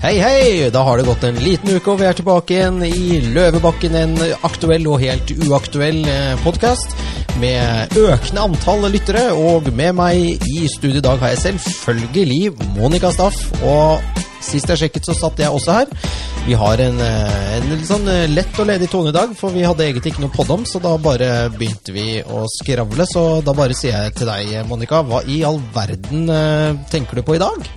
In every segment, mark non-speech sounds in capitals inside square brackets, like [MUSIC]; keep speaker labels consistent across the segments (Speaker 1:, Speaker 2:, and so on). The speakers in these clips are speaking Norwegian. Speaker 1: Hei, hei! Da har det gått en liten uke, og vi er tilbake igjen i Løvebakken. En aktuell og helt uaktuell podkast med økende antall lyttere. Og med meg i studio i dag har jeg selvfølgelig Monica Staff. Og sist jeg sjekket, så satt jeg også her. Vi har en, eh, en litt sånn eh, lett og ledig tone i dag, for vi hadde egentlig ikke noe podd om, så da bare begynte vi å skravle. Så da bare sier jeg til deg, Monica, hva i all verden eh, tenker du på i dag?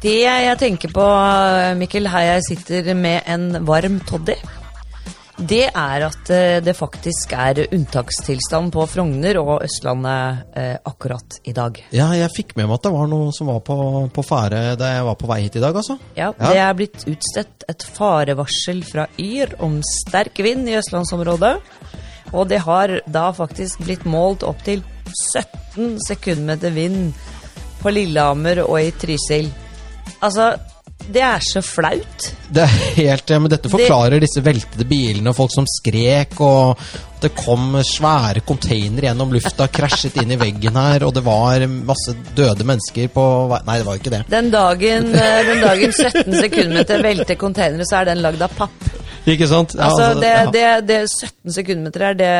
Speaker 2: Det jeg tenker på, eh, Mikkel, her jeg sitter med en varm toddy, det er at eh, det faktisk er unntakstilstand på Frogner og Østlandet eh, akkurat i dag.
Speaker 1: Ja, jeg fikk med meg at det var noe som var på, på ferde da jeg var på vei hit i dag, altså.
Speaker 2: Ja, Det er blitt utstedt et farevarsel fra Yr om sterk vind i østlandsområdet. Og det har da faktisk blitt målt opptil 17 sekundmeter vind på Lillehammer og i Trysil. Altså, det er så flaut.
Speaker 1: Det er helt, men dette forklarer disse veltede bilene og folk som skrek, og at det kom svære containere gjennom lufta, krasjet inn i veggen her, og det var masse døde mennesker på vei Nei, det var jo ikke det.
Speaker 2: Den dagen, eh, den dagen 17 sekundmeter velter containere, så er den lagd av papp.
Speaker 1: Ikke sant? Ja,
Speaker 2: Altså, det,
Speaker 1: ja.
Speaker 2: det, det 17 sekundmeter er det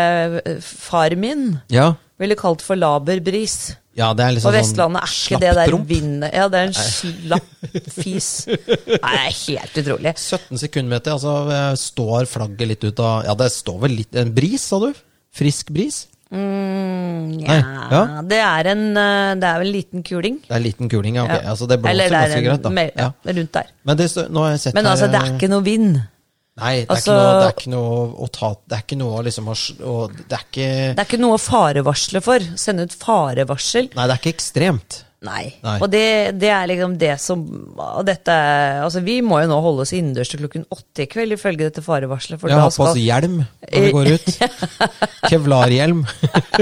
Speaker 2: eh, far min
Speaker 1: ja.
Speaker 2: ville kalt for laberbris.
Speaker 1: ja, det er
Speaker 2: På
Speaker 1: liksom
Speaker 2: Vestlandet er ikke det der
Speaker 1: slappdrump.
Speaker 2: vindet Ja, det er en slapp fis. Nei, det er helt utrolig.
Speaker 1: 17 sekundmeter, altså eh, står flagget litt ut av Ja, det står vel litt En bris, sa du? Frisk bris? ja.
Speaker 2: Ja, det er en eh, Det er vel en liten kuling.
Speaker 1: Det er en liten kuling, ja. ok.
Speaker 2: Ja.
Speaker 1: Altså, det
Speaker 2: Eller
Speaker 1: blåser
Speaker 2: det er
Speaker 1: ganske
Speaker 2: en
Speaker 1: greit, da.
Speaker 2: mer-
Speaker 1: Ja.
Speaker 2: ja, rundt der.
Speaker 1: Men det, stø- nå har jeg sett eh,
Speaker 2: Men altså, det er ikke noe vind.
Speaker 1: Nei, det er,
Speaker 2: altså-
Speaker 1: ikke, noe, det er ikke noe å ta Det er ikke noe å liksom å, s- å- Det er ikke
Speaker 2: Det er ikke noe å farevarsle for. Sende ut farevarsel.
Speaker 1: Nei, det er ikke ekstremt.
Speaker 2: Nei.
Speaker 1: Nei.
Speaker 2: Og det, det er liksom det som og dette, altså Vi må jo nå holde oss innendørs til klokken åtte i kveld, ifølge dette farevarselet. For
Speaker 1: Jeg
Speaker 2: da
Speaker 1: har på oss
Speaker 2: skal,
Speaker 1: hjelm når vi går
Speaker 2: [LAUGHS]
Speaker 1: ut. Kevlarhjelm.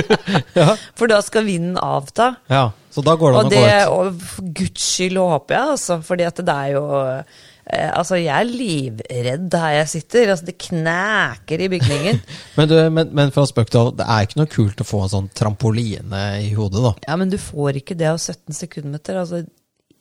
Speaker 1: [LAUGHS] ja.
Speaker 2: for da skal vinden avta.
Speaker 1: ja. Så da går det
Speaker 2: Og
Speaker 1: an å
Speaker 2: det,
Speaker 1: gå ut.
Speaker 2: og for guds skyld håper jeg, altså. Fordi at det er jo eh, Altså, jeg er livredd her jeg sitter. Altså, det kneker i
Speaker 1: [LAUGHS]
Speaker 2: bygningen.
Speaker 1: Men, du, men, men fra spøk til alvor, det er ikke noe kult å få en sånn trampoline i hodet, da.
Speaker 2: ja, men du får ikke det av 17 sekundmeter. Altså,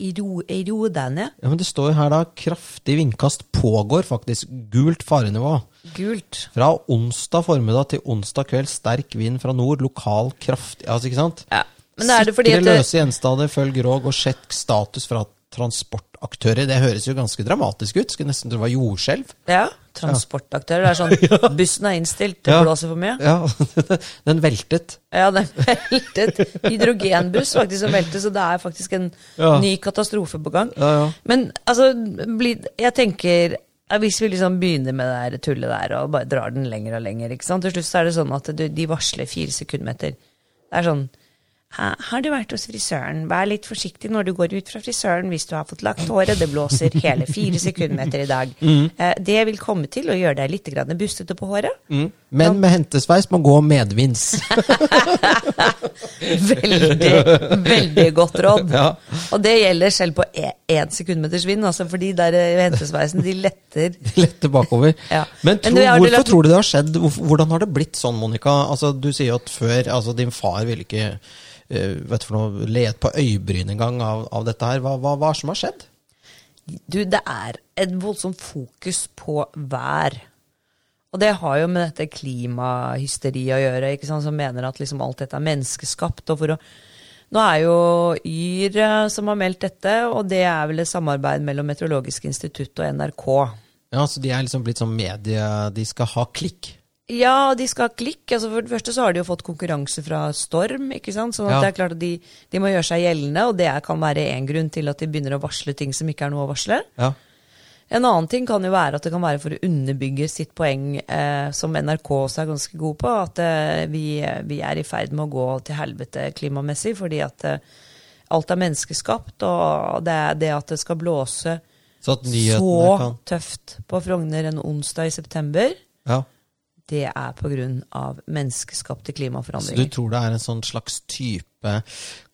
Speaker 2: i ro, i ro deg ned.
Speaker 1: Ja, Men det står her da 'kraftig vindkast pågår', faktisk. Gult farenivå.
Speaker 2: Gult.
Speaker 1: Fra onsdag formiddag til onsdag kveld sterk vind fra nord, lokal kraftig Altså, ikke sant?
Speaker 2: Ja. Men er det fordi
Speaker 1: Sikre
Speaker 2: at det-
Speaker 1: løse gjenstander, følg råd og sjekk status fra transportaktører. Det høres jo ganske dramatisk ut. Skulle nesten tro det var jordskjelv.
Speaker 2: Ja. Transportaktører. Det
Speaker 1: [LAUGHS]
Speaker 2: er sånn Bussen er innstilt, det
Speaker 1: Ja.
Speaker 2: blåser for mye.
Speaker 1: Ja, [LAUGHS] den veltet.
Speaker 2: Ja, den veltet. Hydrogenbuss faktisk som veltet, så det er faktisk en
Speaker 1: Ja.
Speaker 2: ny katastrofe på gang.
Speaker 1: Ja, ja.
Speaker 2: Men altså, bli, jeg tenker ja, Hvis vi liksom begynner med det der tullet der og bare drar den lenger og lenger ikke sant? Til slutt så er det sånn at du, de varsler fire sekundmeter. Det er sånn «Hæ, har du vært hos frisøren? Vær litt forsiktig når du går ut fra frisøren hvis du har fått lagt håret. Det blåser hele fire sekundmeter i dag.
Speaker 1: Mm.
Speaker 2: Eh, Det vil komme til å gjøre deg litt grann bustete på håret.
Speaker 1: Men med hentesveis må gå medvinds. [LAUGHS]
Speaker 2: Veldig, veldig godt råd. Og det gjelder selv på e- én sekundmeters vind, altså, for de der eh, hentesveisen, de letter.
Speaker 1: Lette bakover.
Speaker 2: Ja.
Speaker 1: Men,
Speaker 2: Men
Speaker 1: tro,
Speaker 2: du, har du
Speaker 1: hvorfor
Speaker 2: lagt-
Speaker 1: tror du det har skjedd? Hvorfor- Hvordan har det blitt sånn, Monica? Altså, du sier jo at før altså, din far ville ikke eh, vet du for noe, le et par øyebryn en gang av, av dette her. Hva, hva, hva er det som har skjedd?
Speaker 2: Du, det er et voldsomt fokus på vær. Og det har jo med dette klimahysteriet å gjøre, ikke sant, som mener at liksom alt dette er menneskeskapt. og for å nå er jo Yr eh, som har meldt dette, og det er vel et samarbeid mellom Meteorologisk institutt og NRK.
Speaker 1: Ja, så De er liksom blitt sånn medie De skal ha klikk.
Speaker 2: Ja, de skal ha klikk. Altså for det første så har de jo fått konkurranse fra Storm. ikke sant? Sånn at
Speaker 1: Ja.
Speaker 2: det er klart at de, de må gjøre seg gjeldende, og det er- kan være én grunn til at de begynner å varsle ting som ikke er noe å varsle.
Speaker 1: Ja.
Speaker 2: En annen ting kan jo være at det kan være for å underbygge sitt poeng, eh, som NRK også er ganske god på, at eh, vi, vi er i ferd med å gå til helvete klimamessig, fordi at eh, alt er menneskeskapt, og det, er det at det skal blåse
Speaker 1: Så at nyhetene
Speaker 2: så
Speaker 1: kan
Speaker 2: tøft på Frogner en onsdag i september
Speaker 1: ja.
Speaker 2: det er pga. menneskeskapte
Speaker 1: Så du
Speaker 2: klimaforandringer.
Speaker 1: tror det er en sånn slags type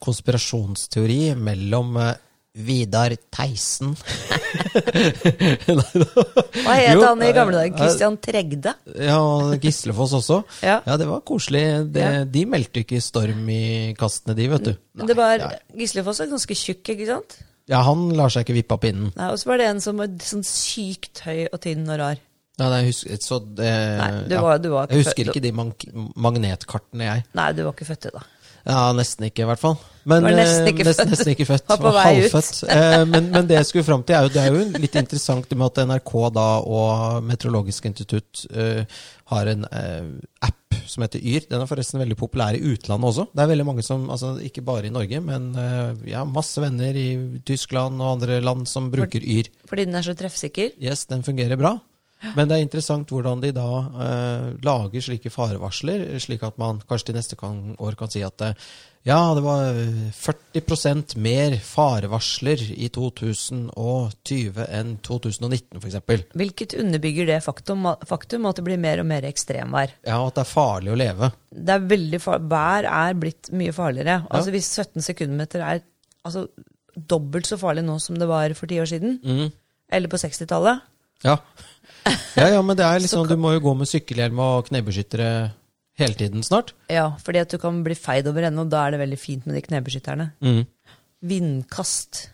Speaker 1: konspirasjonsteori mellom eh, Vidar Theisen
Speaker 2: Hva het
Speaker 1: Jo,
Speaker 2: han i gamle dager?
Speaker 1: eh,
Speaker 2: Christian Tregde?
Speaker 1: Ja, og Gislefoss også.
Speaker 2: [LAUGHS] Ja.
Speaker 1: det var koselig. Det,
Speaker 2: Ja.
Speaker 1: De meldte ikke storm i kastene, de, vet du.
Speaker 2: det var Gislefoss er ganske tjukk, ikke sant?
Speaker 1: Ja, han lar seg ikke vippe av pinnen.
Speaker 2: Nei, Og så var det en som var sånn sykt høy og tynn og rar.
Speaker 1: Nei, nei, husk, så det,
Speaker 2: Nei, du
Speaker 1: ja.
Speaker 2: var, du var
Speaker 1: Jeg husker
Speaker 2: født-
Speaker 1: ikke de mank- magnetkartene, jeg.
Speaker 2: Nei, du var ikke født til da.
Speaker 1: Ja, nesten ikke, i hvert fall. Men,
Speaker 2: Du var nesten
Speaker 1: eh,
Speaker 2: ikke
Speaker 1: nesten,
Speaker 2: født.
Speaker 1: nesten ikke født.
Speaker 2: Var på vei ut.
Speaker 1: halvfødt. Eh, Men, men det jeg skulle fram til, er jo, det er jo litt interessant med at NRK da og Meteorologisk institutt eh, har en eh, app som heter Yr. Den er forresten veldig populær i utlandet også. Det er veldig mange som, altså ikke bare i Norge, men eh, jeg har masse venner i Tyskland og andre land som bruker Yr.
Speaker 2: Fordi den er så treffsikker.
Speaker 1: Yes, den fungerer bra. Men det er interessant hvordan de da eh, lager slike farevarsler, slik at man kanskje til neste kan, år kan si at eh, ja, det var eh, 40 mer farevarsler i 2020 enn 2019, f.eks.
Speaker 2: Hvilket underbygger det faktum, faktum at det blir mer og mer ekstremvær.
Speaker 1: Ja, at det er farlig å leve.
Speaker 2: Det er veldig far vær er blitt mye farligere. Altså Hvis 17 sekundmeter er altså, dobbelt så farlig nå som det var for ti år siden,
Speaker 1: Mm.
Speaker 2: eller på 60-tallet
Speaker 1: Ja. ja, ja, men det er
Speaker 2: Så
Speaker 1: liksom, du må jo gå med sykkelhjelm og knebeskyttere hele tiden snart.
Speaker 2: Ja, fordi at du kan bli feid over ende, og da er det veldig fint med de knebeskytterne.
Speaker 1: Mm.
Speaker 2: Vindkast.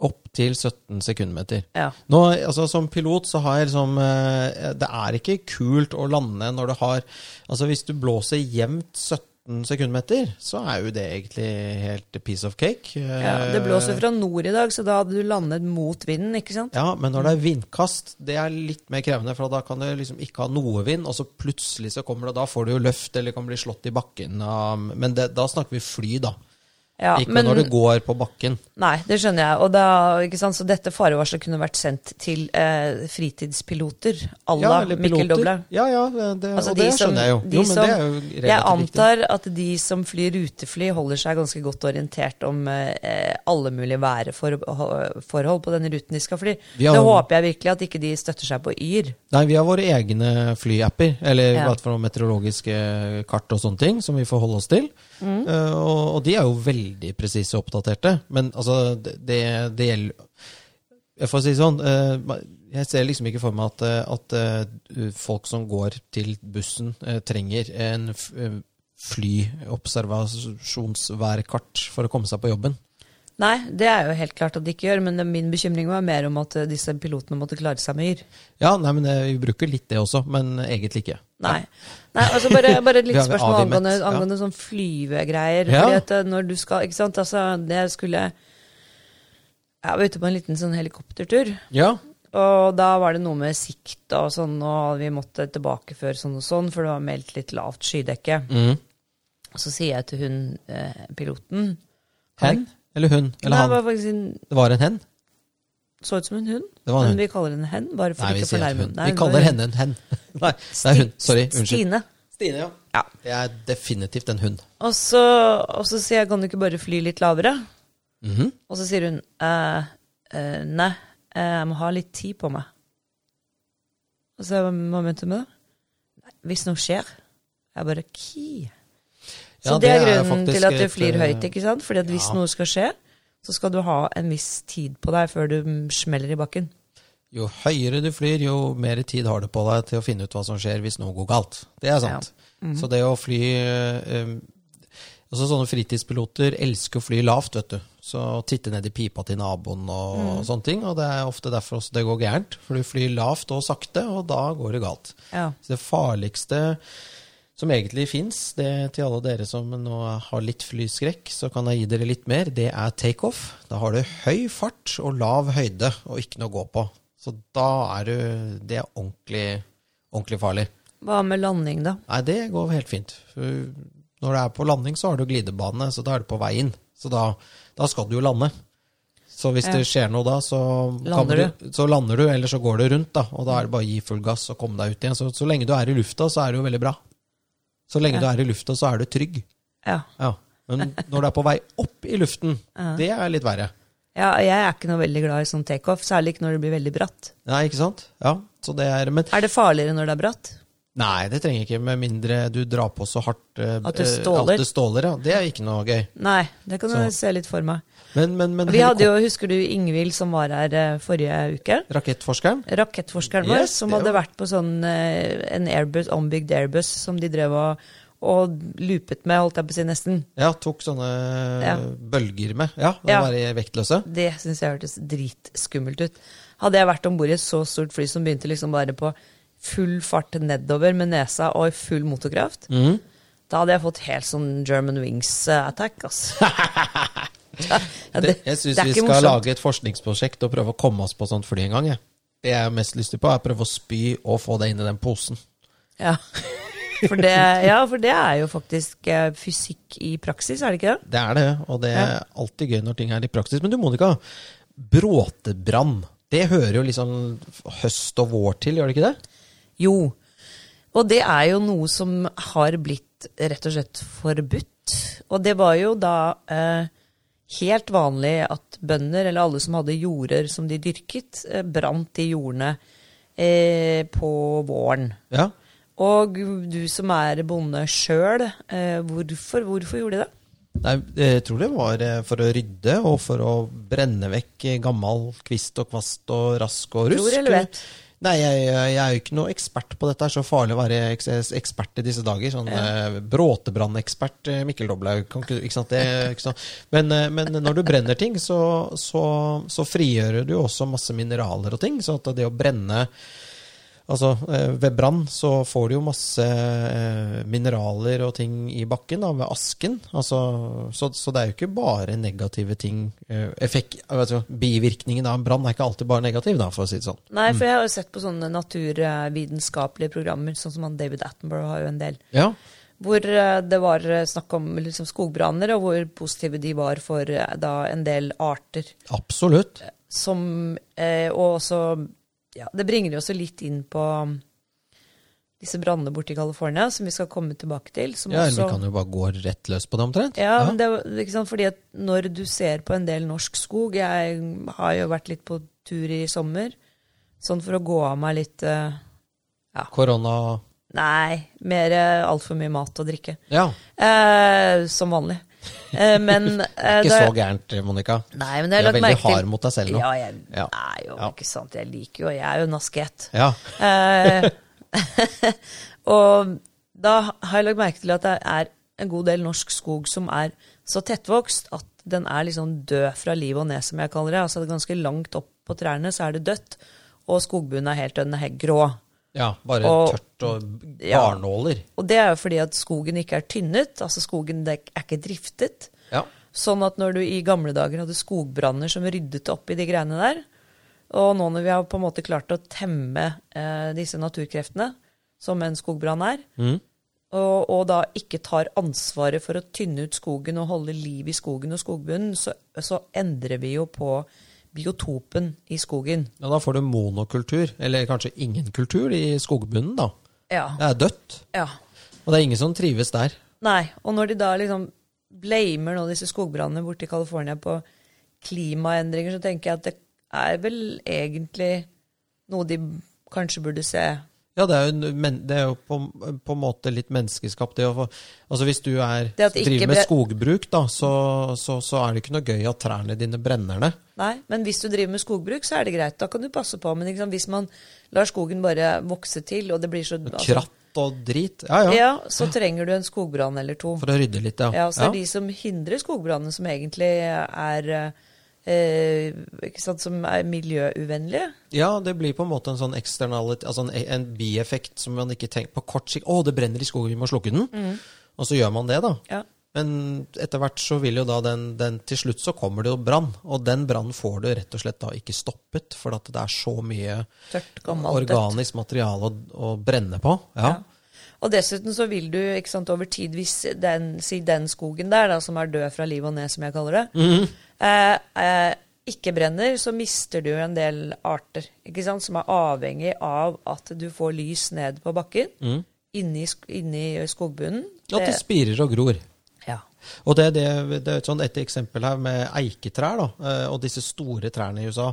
Speaker 1: Opp til 17 sekundmeter.
Speaker 2: Ja.
Speaker 1: Nå, altså Som pilot så har jeg liksom eh, Det er ikke kult å lande når du har Altså Hvis du blåser jevnt 17 sekundmeter, så er jo det egentlig helt a piece of cake.
Speaker 2: ja. Det blåser fra nord i dag, så da hadde du landet mot vinden, ikke sant?
Speaker 1: Eh, Ja, men når det er vindkast, det er litt mer krevende, for da kan du liksom ikke ha noe vind, og så plutselig så kommer det, og da får du jo løft, eller kan bli slått i bakken av Men det, da snakker vi fly, da.
Speaker 2: Ja,
Speaker 1: ikke når det går på bakken.
Speaker 2: Nei, det skjønner jeg. Og da, ikke sant? Så dette farevarselet kunne vært sendt til eh, fritidspiloter à la
Speaker 1: eller
Speaker 2: Mikkel
Speaker 1: piloter.
Speaker 2: Doble.
Speaker 1: Ja, ja, det, Mm,
Speaker 2: Altså,
Speaker 1: og det
Speaker 2: de som-
Speaker 1: skjønner jeg jo.
Speaker 2: de
Speaker 1: jo, men
Speaker 2: som-
Speaker 1: det er jo relativt
Speaker 2: Jeg
Speaker 1: viktig.
Speaker 2: antar at de som flyr rutefly, holder seg ganske godt orientert om eh, alle mulige værforhold på denne ruten de skal fly.
Speaker 1: Vi har-
Speaker 2: Det håper jeg virkelig at ikke de støtter seg på Yr.
Speaker 1: Nei, vi har våre egne flyapper, eller
Speaker 2: Ja.
Speaker 1: i hvert fall meteorologiske kart og sånne ting, som vi får holde oss til.
Speaker 2: Mm.
Speaker 1: Eh, og, og de er jo veldig presise og oppdaterte. Men altså, det, det, det gjelder Jeg får si sånn, eh, jeg ser liksom ikke for meg at, eh, at eh, folk som går til bussen, eh, trenger en f- eh, flyobservasjonsværkart for å komme seg på jobben.
Speaker 2: Nei, det er jo helt klart at de ikke gjør, men min bekymring var mer om at eh, disse pilotene måtte klare seg med Yr.
Speaker 1: Ja, nei, men eh, vi bruker litt det også, men egentlig ikke.
Speaker 2: Nei. Nei, altså bare, bare et
Speaker 1: [LAUGHS] Vi
Speaker 2: lite
Speaker 1: har vel
Speaker 2: spørsmål
Speaker 1: avimmet,
Speaker 2: angående,
Speaker 1: ja.
Speaker 2: angående sånn flyvegreier.
Speaker 1: Ja.
Speaker 2: Fordi at eh, når du skal, ikke sant, altså det skulle Jeg var ute på en liten sånn helikoptertur,
Speaker 1: Ja,
Speaker 2: og da var det noe med sikt og sånn, og vi måtte tilbake før sånn og sånn, for det var meldt litt lavt skydekke. Og så sier jeg til hun eh, piloten
Speaker 1: Hen eller hun eller
Speaker 2: Nei,
Speaker 1: han?
Speaker 2: det var faktisk en,
Speaker 1: Det var en hen?
Speaker 2: så ut som en hund,
Speaker 1: Det var en
Speaker 2: men
Speaker 1: hund.
Speaker 2: vi kaller henne hen. Bare for
Speaker 1: Nei, vi
Speaker 2: ikke å
Speaker 1: sier
Speaker 2: fornærme
Speaker 1: hun.
Speaker 2: Nei,
Speaker 1: Vi
Speaker 2: det var
Speaker 1: kaller
Speaker 2: en-
Speaker 1: henne en
Speaker 2: [LAUGHS]
Speaker 1: hen. Nei, [LAUGHS] det er hun. Sorry.
Speaker 2: Sti-
Speaker 1: Unnskyld.
Speaker 2: Stine.
Speaker 1: Stine, ja.
Speaker 2: Ja.
Speaker 1: Det er definitivt en hund.
Speaker 2: Og så, og så sier jeg, kan du ikke bare fly litt lavere?
Speaker 1: Mhm.
Speaker 2: Og så sier hun, «Eh, eh, nei, eh, jeg må ha litt tid på meg. Og så, hva hva mente du med det? «Nei, Hvis noe skjer, jeg bare ki. Så
Speaker 1: Ja,
Speaker 2: det, er
Speaker 1: det er
Speaker 2: grunnen
Speaker 1: faktisk
Speaker 2: til at du
Speaker 1: et,
Speaker 2: flyr
Speaker 1: eh,
Speaker 2: høyt, ikke sant? Fordi at hvis
Speaker 1: ja.
Speaker 2: noe skal skje, så skal du ha en viss tid på deg før du mm, smeller i bakken.
Speaker 1: Jo høyere du flyr, jo mer tid har du på deg til å finne ut hva som skjer hvis noe går galt. Det er sant.
Speaker 2: Mhm.
Speaker 1: Så det å fly eh, um, altså Sånne fritidspiloter elsker å fly lavt, vet du. Så titte ned i pipa til naboen og,
Speaker 2: Mhm.
Speaker 1: og sånne ting. Og det er ofte derfor også det går gærent. For du flyr lavt og sakte, og da går det galt.
Speaker 2: Ja.
Speaker 1: Så det farligste som egentlig fins, det til alle dere som nå har litt flyskrekk, så kan jeg gi dere litt mer, det er takeoff. Da har du høy fart og lav høyde og ikke noe å gå på. Så da er du Det er ordentlig, ordentlig farlig.
Speaker 2: Hva med landing da?
Speaker 1: Nei, det går helt fint. For når du er på landing, så har du glidebane, så da er du på vei inn. Så da, da skal du jo lande. Så hvis
Speaker 2: Ja.
Speaker 1: det skjer noe da, så kan
Speaker 2: Lander
Speaker 1: du, så lander du, eller så går det rundt, da. Og da er det bare å gi full gass og komme deg ut igjen. Så, så lenge du er i lufta, så er det jo veldig bra. Så lenge du er i lufta, så er du trygg.
Speaker 2: Ja.
Speaker 1: Ja.
Speaker 2: [LAUGHS]
Speaker 1: Men når du er på vei opp i luften, det er litt verre.
Speaker 2: ja, jeg er ikke noe veldig glad i sånn take-off, særlig ikke når det blir veldig bratt.
Speaker 1: Nei, ikke sant? Ja, så det er Men
Speaker 2: Er det farligere når det er bratt?
Speaker 1: nei, det trenger ikke, med mindre du drar på så hardt eh,
Speaker 2: At det
Speaker 1: eh,
Speaker 2: ståler.
Speaker 1: At det ståler, ja. Det er ikke noe gøy.
Speaker 2: Nei, det kan
Speaker 1: Så-
Speaker 2: jeg se litt for meg.
Speaker 1: Men, men, men
Speaker 2: Vi hadde jo, husker du Ingvild som var her eh, forrige uke?
Speaker 1: Rakettforskeren?
Speaker 2: Rakettforskeren vår
Speaker 1: Yes,
Speaker 2: som
Speaker 1: det
Speaker 2: hadde
Speaker 1: var-
Speaker 2: vært på sånn eh, en Airbus, ombygd Airbus som de drev og og loopet med, holdt jeg på å si, nesten.
Speaker 1: Ja, tok sånne
Speaker 2: Ja.
Speaker 1: bølger med. Ja, det
Speaker 2: Ja.
Speaker 1: var i vektløse.
Speaker 2: Det syns jeg hørtes dritskummelt ut. Hadde jeg vært om bord i et så stort fly som begynte liksom bare på full fart nedover med nesa og i full motorkraft,
Speaker 1: Mhm.
Speaker 2: da hadde jeg fått helt sånn German wings-attack,
Speaker 1: [LAUGHS]
Speaker 2: altså. Ja,
Speaker 1: Det, jeg syns
Speaker 2: det er
Speaker 1: vi
Speaker 2: ikke
Speaker 1: skal
Speaker 2: morsomt.
Speaker 1: lage et forskningsprosjekt og prøve å komme oss på sånt fly en gang. Jeg. Det jeg har mest lyst til på, er å prøve å spy og få det inn i den posen.
Speaker 2: Ja. For det, ja, for det er jo faktisk eh, fysikk i praksis, er det ikke det?
Speaker 1: Det er det, og det er alltid gøy når ting er litt praktisk. Men du, Monica, bråtebrann. Det hører jo liksom høst og vår til, gjør det ikke det?
Speaker 2: Jo. Og det er jo noe som har blitt rett og slett forbudt. Og det var jo da eh, helt vanlig at bønder, eller alle som hadde jorder som de dyrket, eh, brant de jordene eh, på våren.
Speaker 1: Ja.
Speaker 2: Og du som er bonde sjøl, eh, hvorfor, hvorfor gjorde de det?
Speaker 1: Nei, jeg tror det var eh, for å rydde og for å brenne vekk eh, gammal kvist og kvast og rask og rusk.
Speaker 2: Tror eller vet?
Speaker 1: Nei, jeg, jeg er jo ikke noe ekspert på dette. Det er så farlig å være eks- ekspert i disse dager. Sånn eh, bråtebrannekspert eh, Mikkel Doblaug. Kan ikke, ikke sant? Det, ikke sant? Men, eh, men når du brenner ting, så, så, så frigjør du jo også masse mineraler og ting. Så at det å brenne Altså, eh, ved brann så får du jo masse eh, mineraler og ting i bakken, da, ved asken. Altså, så, så det er jo ikke bare negative ting. eh, Effekt, altså, bivirkningen av en brann er ikke alltid bare negativ, da, for å si det sånn.
Speaker 2: Nei, for jeg har jo sett på sånne naturvitenskapelige programmer, sånn som han David Attenborough har jo en del.
Speaker 1: Ja,
Speaker 2: Hvor eh, det var eh, snakk om liksom, skogbranner, og hvor positive de var for eh, da en del arter.
Speaker 1: absolutt.
Speaker 2: Som eh, Og også Ja, det bringer jo også litt inn på um, disse brannene borte i California, som vi skal komme tilbake til. Som
Speaker 1: Ja, eller
Speaker 2: også,
Speaker 1: vi kan jo bare gå rett løs på det omtrent.
Speaker 2: altså- ja, men det er jo- ikke sant, fordi at når du ser på en del norsk skog Jeg har jo vært litt på tur i sommer, sånn for å gå av meg litt eh,
Speaker 1: Korona
Speaker 2: Nei, mer eh, altfor mye mat og drikke.
Speaker 1: Ja,
Speaker 2: Eh, som vanlig. Eh,
Speaker 1: [LAUGHS]
Speaker 2: men eh,
Speaker 1: ikke
Speaker 2: da-
Speaker 1: så gærent, Monica.
Speaker 2: Nei, men
Speaker 1: Du
Speaker 2: jeg
Speaker 1: er
Speaker 2: har lagt
Speaker 1: veldig
Speaker 2: merke til
Speaker 1: hard mot deg selv nå.
Speaker 2: Ja, jeg
Speaker 1: Ja.
Speaker 2: er jo
Speaker 1: Ja.
Speaker 2: ikke sant. Jeg liker jo Jeg er jo nasket.
Speaker 1: Ja.
Speaker 2: Eh, og da har jeg lagt merke til at det er en god del norsk skog som er så tettvokst at den er liksom død fra liv og ned, som jeg kaller det. Altså det er ganske langt opp på trærne så er det dødt, og skogbunnen er helt død, den er helt grå.
Speaker 1: ja, bare
Speaker 2: Og-
Speaker 1: tørt og
Speaker 2: Ja.
Speaker 1: barnåler.
Speaker 2: Og det er jo fordi at skogen ikke er tynnet, altså skogen det er ikke driftet.
Speaker 1: Ja.
Speaker 2: Sånn at når du i gamle dager hadde skogbranner som ryddet opp i de greiene der, og nå når vi har på en måte klart å temme eh, disse naturkreftene, som en skogbrann er, og, og da ikke tar ansvaret for å tynne ut skogen og holde liv i skogen og skogbunnen, så, så endrer vi jo på biotopen i skogen.
Speaker 1: ja, da får du monokultur, eller kanskje ingen kultur i skogbunnen, da.
Speaker 2: Ja.
Speaker 1: Det er dødt,
Speaker 2: ja.
Speaker 1: og det er ingen som trives der.
Speaker 2: Nei, og når de da liksom blamer nå disse skogbrannene borte i California på klimaendringer, så tenker jeg at det er vel egentlig noe de kanskje burde se.
Speaker 1: Ja, det er jo, en men, det er jo på, på en måte litt menneskeskapt. Det å få, altså hvis du er,
Speaker 2: Det at det ikke
Speaker 1: driver med
Speaker 2: bre-
Speaker 1: skogbruk, da, så, så, så er det ikke noe gøy at trærne dine brenner ned.
Speaker 2: Nei, men hvis du driver med skogbruk, så er det greit. Da kan du passe på. Men ikke sant, hvis man lar skogen bare vokse til, og det blir så altså,
Speaker 1: Kratt og drit. Ja, ja.
Speaker 2: Ja, så trenger du en skogbrann eller to.
Speaker 1: For å rydde litt, ja.
Speaker 2: Ja, og så er de som hindrer skogbrannene, som egentlig er eh, ikke sant, som er miljøuvennlige.
Speaker 1: Ja, det blir på en måte en sånn eksternalitet, altså en, en bieffekt som man ikke tenker på kort sikt. Å, det brenner i skogen, vi må slukke den.
Speaker 2: Mm.
Speaker 1: Og så gjør man det, da.
Speaker 2: Ja.
Speaker 1: Men etter hvert så vil jo da den, den Til slutt så kommer det jo brann, og den brannen får du rett og slett da ikke stoppet, for at det er så mye
Speaker 2: Tørt, gammelt, dødt.
Speaker 1: organisk materiale å, å brenne på. Ja.
Speaker 2: Og dessuten så vil du ikke sant, over tid, hvis den, si den skogen der, da, som er død fra liv og ned, som jeg kaller det, eh, eh, ikke brenner, så mister du en del arter ikke sant, som er avhengig av at du får lys ned på bakken, inni, sk- inni skogbunnen.
Speaker 1: Og at det spirer og gror.
Speaker 2: ja.
Speaker 1: Og det, det, det er et, sånn et eksempel her med eiketrær da, eh, og disse store trærne i USA.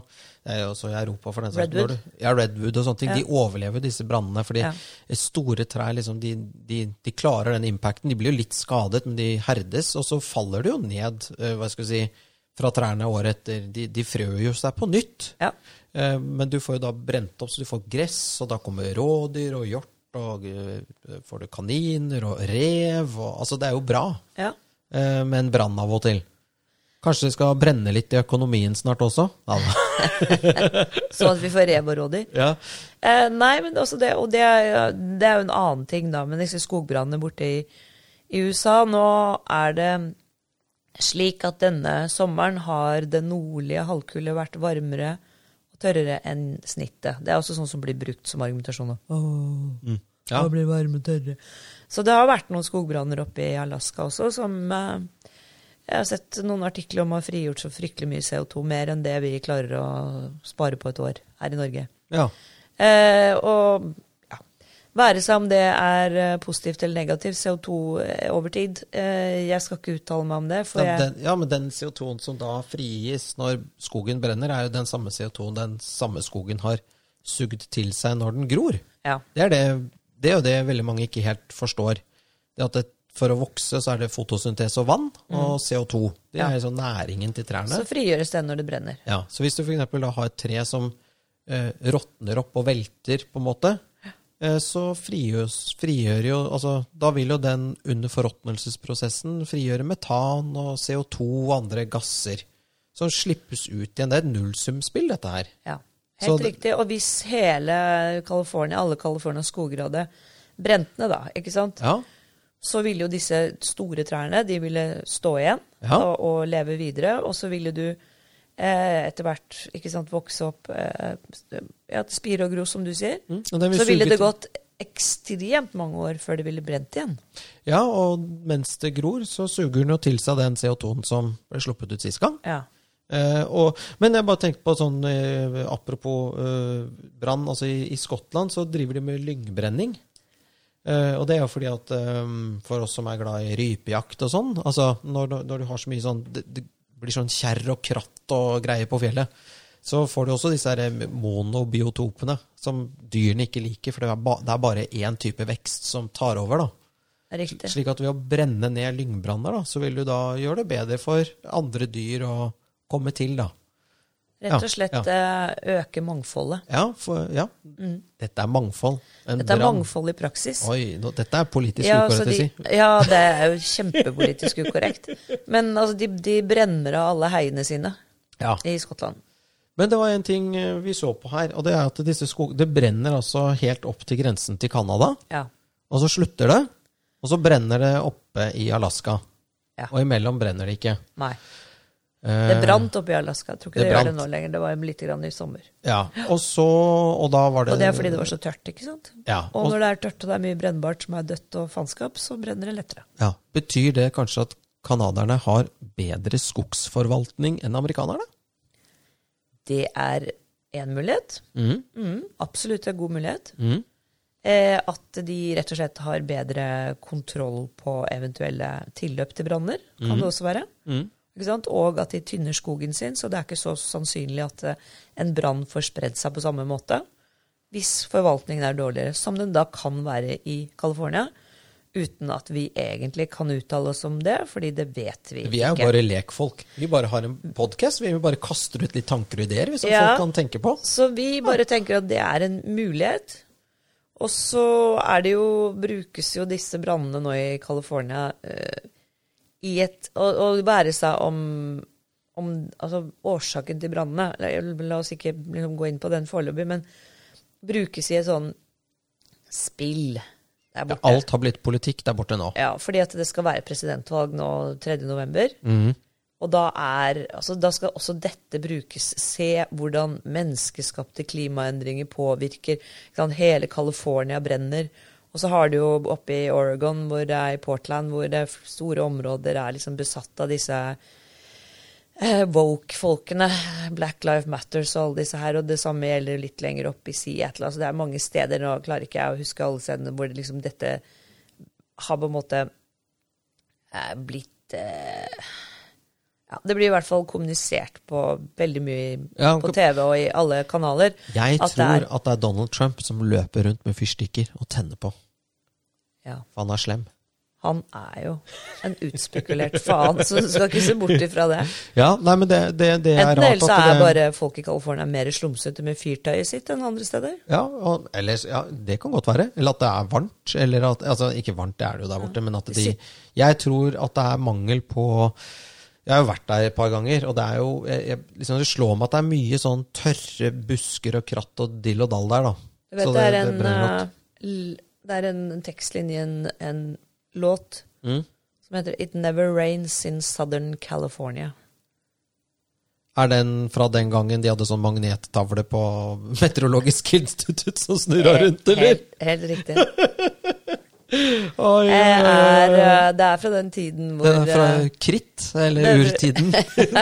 Speaker 1: Det er jo også i Europa for den saks
Speaker 2: Redwood.
Speaker 1: skyld. Ja, Redwood og sånne ting. De overlever disse brannene. fordi eh,
Speaker 2: Ja.
Speaker 1: store trær liksom, de, de, de klarer den impacten. De blir jo litt skadet, men de herdes. Og så faller de jo ned eh, hva skal jeg si, fra trærne året etter. De, de frør jo seg på nytt.
Speaker 2: ja.
Speaker 1: Eh, Men du får jo da brent opp, så du får gress, og da kommer rådyr og hjort og eh, får du kaniner og rev og Altså, det er jo bra,
Speaker 2: Ja.
Speaker 1: eh, men brann av og til. Kanskje det skal brenne litt i økonomien snart også? Ja, da.
Speaker 2: Sånn at vi får rev og rådyr.
Speaker 1: ja.
Speaker 2: Eh, nei, men også det, og det er, det er jo en annen ting, da. Men disse skogbrannene borte i, i USA Nå er det slik at denne sommeren har den nordlige halvkule vært varmere og tørrere enn snittet. Det er også sånn som blir brukt som argumentasjon. da. Åh,
Speaker 1: Ja.
Speaker 2: da blir det varme og tørrere. Så det har vært noen skogbranner oppe i Alaska også som eh, jeg har sett noen artikler om har frigjort så fryktelig mye CO2, mer enn det vi klarer å spare på et år her i Norge.
Speaker 1: ja.
Speaker 2: Eh, og ja, være seg om det er eh, positivt eller negativt, CO2 over tid. Eh, jeg skal ikke uttale meg om det, for
Speaker 1: Ja,
Speaker 2: jeg,
Speaker 1: den, ja, men den CO2-en som da frigis når skogen brenner, er jo den samme CO2-en den samme skogen har sugd til seg når den gror.
Speaker 2: ja,
Speaker 1: Det er, det, det er jo det veldig mange ikke helt forstår. Det at det, for å vokse så er det fotosyntese og vann
Speaker 2: Mm.
Speaker 1: og CO2. Det er liksom næringen til trærne.
Speaker 2: så frigjøres den når det brenner.
Speaker 1: Ja, så hvis du for eksempel da har et tre som eh, råtner opp og velter, på en måte, eh, så frigjøres, frigjør jo altså, Da vil jo den under forråtnelsesprosessen frigjøre metan og CO2 og andre gasser som slippes ut igjen. Det er et nullsumspill, dette her.
Speaker 2: Ja,
Speaker 1: Så
Speaker 2: helt
Speaker 1: det-
Speaker 2: riktig. Og hvis hele California, alle California skograder brente ned, da, ikke sant,
Speaker 1: Ja,
Speaker 2: så ville jo disse store trærne de ville stå igjen
Speaker 1: Ja.
Speaker 2: og, og leve videre. Og så ville du eh, etter hvert ikke sant, vokse opp eh, ja, spire og gro, som du sier.
Speaker 1: og den vil
Speaker 2: så ville
Speaker 1: suge til-
Speaker 2: det gått ekstremt mange år før det ville brent igjen.
Speaker 1: ja og mens det gror, så suger den jo til seg den CO2-en som ble sluppet ut sist gang.
Speaker 2: Ja.
Speaker 1: Eh, og, men jeg bare tenkte på sånn eh, Apropos eh, brann. Altså i, I Skottland så driver de med lyngbrenning. Eh, og det er jo fordi at eh, for oss som er glad i rypejakt og sånn altså Når, du- når du har så mye sånn Det, det blir sånn kjerr og kratt og greier på fjellet, så får du også disse her eh, monobiotopene som dyrene ikke liker, for det er, ba, det er bare én type vekst som tar over. da
Speaker 2: Riktig.
Speaker 1: slik at ved å brenne ned lyngbranner, da, så vil du da gjøre det bedre for andre dyr å komme til, da.
Speaker 2: Rett og slett
Speaker 1: ja.
Speaker 2: eh, øke mangfoldet.
Speaker 1: Ja, for, ja. dette er mangfold. En
Speaker 2: Mm. Dette er
Speaker 1: brann-
Speaker 2: mangfold i praksis.
Speaker 1: Oi, nå, dette er politisk
Speaker 2: Ja,
Speaker 1: ukorrekt
Speaker 2: så
Speaker 1: å
Speaker 2: de,
Speaker 1: si.
Speaker 2: ja, det er jo kjempepolitisk ukorrekt. Men altså, de, de brenner av alle heiene sine
Speaker 1: Ja.
Speaker 2: i Skottland.
Speaker 1: Men det var en ting eh, vi så på her, og det er at disse skog... Det brenner altså helt opp til grensen til Canada,
Speaker 2: Ja.
Speaker 1: og så slutter det, og så brenner det oppe i Alaska.
Speaker 2: Ja.
Speaker 1: Og imellom brenner det ikke.
Speaker 2: Nei.
Speaker 1: Eh,
Speaker 2: Det brant oppe i Alaska. Jeg tror ikke
Speaker 1: det
Speaker 2: det, gjør det
Speaker 1: brant.
Speaker 2: nå lenger. Det var litt grann i sommer.
Speaker 1: Ja, og så Og da var det
Speaker 2: Og det er fordi det var så tørt, ikke sant?
Speaker 1: Ja,
Speaker 2: Og
Speaker 1: og-
Speaker 2: når det er tørt og det er mye brennbart som er dødt og faenskap, så brenner det lettere.
Speaker 1: Ja, Betyr det kanskje at canadierne har bedre skogsforvaltning enn amerikanerne?
Speaker 2: Det er én mulighet. Mm, absolutt en god mulighet.
Speaker 1: Mhm.
Speaker 2: Eh, at de rett og slett har bedre kontroll på eventuelle tilløp til branner, kan det også være. Ikke sant? Og at de tynner skogen sin, så det er ikke så sannsynlig at eh, en brann får spredd seg på samme måte. Hvis forvaltningen er dårligere, som den da kan være i California. Uten at vi egentlig kan uttale oss om det, fordi det vet vi,
Speaker 1: Vi er jo
Speaker 2: ikke.
Speaker 1: bare lekfolk. Vi bare har en podkast. Vi bare kaster ut litt tanker og ideer vi, som
Speaker 2: Ja.
Speaker 1: folk kan tenke på.
Speaker 2: Så vi bare tenker at det er en mulighet. Og så er det jo, brukes jo disse brannene nå i California eh, i et Å å være seg om, om altså, årsaken til brannene. La- La oss ikke liksom, gå inn på den foreløpig, men brukes i et sånn spill der borte.
Speaker 1: Alt har blitt politikk der borte nå.
Speaker 2: Ja, fordi at det skal være presidentvalg nå 3. november. Og da, er, altså, da skal også dette brukes. Se hvordan menneskeskapte klimaendringer påvirker. Ikke sant? Hele California brenner. Og så har du jo oppe i Oregon, hvor det er i Portland, hvor det er store områder er liksom besatt av disse eh, woke-folkene. Black Life Matters og alle disse her. Og det samme gjelder litt lenger opp i Seattle. Altså, det er mange steder, nå klarer ikke jeg å huske alle stedene, hvor det liksom dette har på en måte eh, blitt eh, ja, Det blir i hvert fall kommunisert på veldig mye i-
Speaker 1: Ja,
Speaker 2: på TV og i alle kanaler.
Speaker 1: Jeg
Speaker 2: at det
Speaker 1: tror
Speaker 2: er,
Speaker 1: at det er Donald Trump som løper rundt med fyrstikker og tenner på,
Speaker 2: ja.
Speaker 1: for han er slem.
Speaker 2: han er jo en utspekulert faen, så du skal ikke se bort ifra det.
Speaker 1: Ja, nei, men det, det, det er
Speaker 2: Enten
Speaker 1: rart
Speaker 2: eller så
Speaker 1: at
Speaker 2: er
Speaker 1: det-
Speaker 2: bare folk i California mer slumsete med fyrtøyet sitt enn andre steder.
Speaker 1: Ja, og, eller, ja, det kan godt være. Eller at det er varmt. Eller at, altså, ikke varmt, det er det jo der borte, men at de Jeg tror at det er mangel på Jeg har jo vært der et par ganger, og det er jo jeg, jeg, liksom, Det slår meg at det er mye sånn tørre busker og kratt og dill og dall der, da.
Speaker 2: Du vet,
Speaker 1: Så
Speaker 2: det, er
Speaker 1: det
Speaker 2: en,
Speaker 1: brenner godt.
Speaker 2: eh, l- det er en tekstlinje i en, en låt
Speaker 1: Mm.
Speaker 2: som heter It Never Rains in Southern California.
Speaker 1: Er den fra den gangen de hadde sånn magnettavle på [LAUGHS] Meteorologisk institutt som
Speaker 2: Eh,
Speaker 1: snurra rundt, eller?
Speaker 2: Helt, helt riktig.
Speaker 1: Oi,
Speaker 2: Det
Speaker 1: oi,
Speaker 2: er,
Speaker 1: oi, oi.
Speaker 2: eh, det er fra den tiden hvor
Speaker 1: Den er fra
Speaker 2: eh,
Speaker 1: kritt, eller
Speaker 2: [LAUGHS]
Speaker 1: urtiden. [LAUGHS]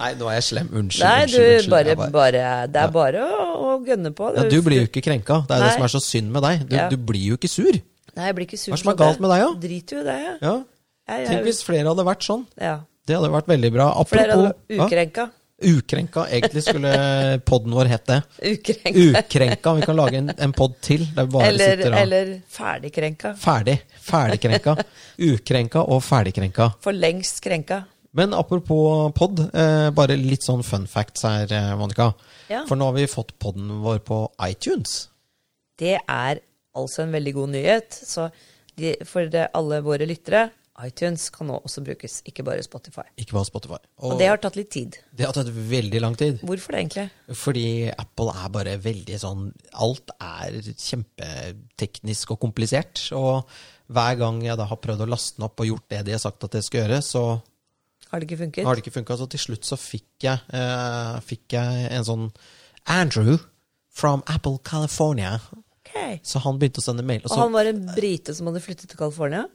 Speaker 1: Nei, nå er jeg slem. Unnskyld.
Speaker 2: Nei,
Speaker 1: unnskyld,
Speaker 2: du,
Speaker 1: unnskyld.
Speaker 2: bare,
Speaker 1: Jeg bare-
Speaker 2: bare Det er bare å, å gønne på.
Speaker 1: Ja, Du blir jo ikke krenka. Det er jo det
Speaker 2: Nei.
Speaker 1: som er så synd med deg. Du,
Speaker 2: Ja.
Speaker 1: du blir jo ikke sur.
Speaker 2: Nei, jeg blir ikke sur.
Speaker 1: Hva er det som er
Speaker 2: for det.
Speaker 1: galt med deg, da?
Speaker 2: Driter jo i det, jeg.
Speaker 1: Ja.
Speaker 2: Jeg- jeg-
Speaker 1: Tenk hvis flere hadde vært sånn.
Speaker 2: Ja.
Speaker 1: Det hadde vært veldig bra.
Speaker 2: Flere av
Speaker 1: Apropos
Speaker 2: dem ukrenka.
Speaker 1: Ja, ukrenka. Egentlig skulle
Speaker 2: [LAUGHS]
Speaker 1: podden vår hett det.
Speaker 2: Ukrenka.
Speaker 1: Ukrenka. Vi kan lage en, en podd til der vi bare
Speaker 2: Eller,
Speaker 1: sitter og
Speaker 2: eller ferdigkrenka.
Speaker 1: Ferdig. Ferdigkrenka.
Speaker 2: [LAUGHS]
Speaker 1: Ukrenka og ferdigkrenka.
Speaker 2: For lengst krenka.
Speaker 1: Men apropos pod, eh, bare litt sånn fun facts her, eh, Monica.
Speaker 2: Ja.
Speaker 1: For nå har vi fått podden vår på iTunes.
Speaker 2: Det er altså en veldig god nyhet. Så de, for det, alle våre lyttere, iTunes kan nå også brukes, ikke bare Spotify.
Speaker 1: Ikke bare Spotify.
Speaker 2: Og det har tatt litt tid.
Speaker 1: det har tatt veldig lang tid.
Speaker 2: Hvorfor det, egentlig?
Speaker 1: Fordi Apple er bare veldig sånn Alt er kjempeteknisk og komplisert. Og hver gang jeg da har prøvd å laste den opp og gjort det de har sagt at jeg skal gjøre, så
Speaker 2: Har det ikke funket?
Speaker 1: har det ikke funka. Så til slutt så fikk jeg, eh, fikk jeg en sånn Andrew from Apple California.
Speaker 2: Ok.
Speaker 1: Så han begynte å sende mail. Og
Speaker 2: Og
Speaker 1: så,
Speaker 2: han var en brite som hadde flyttet til California?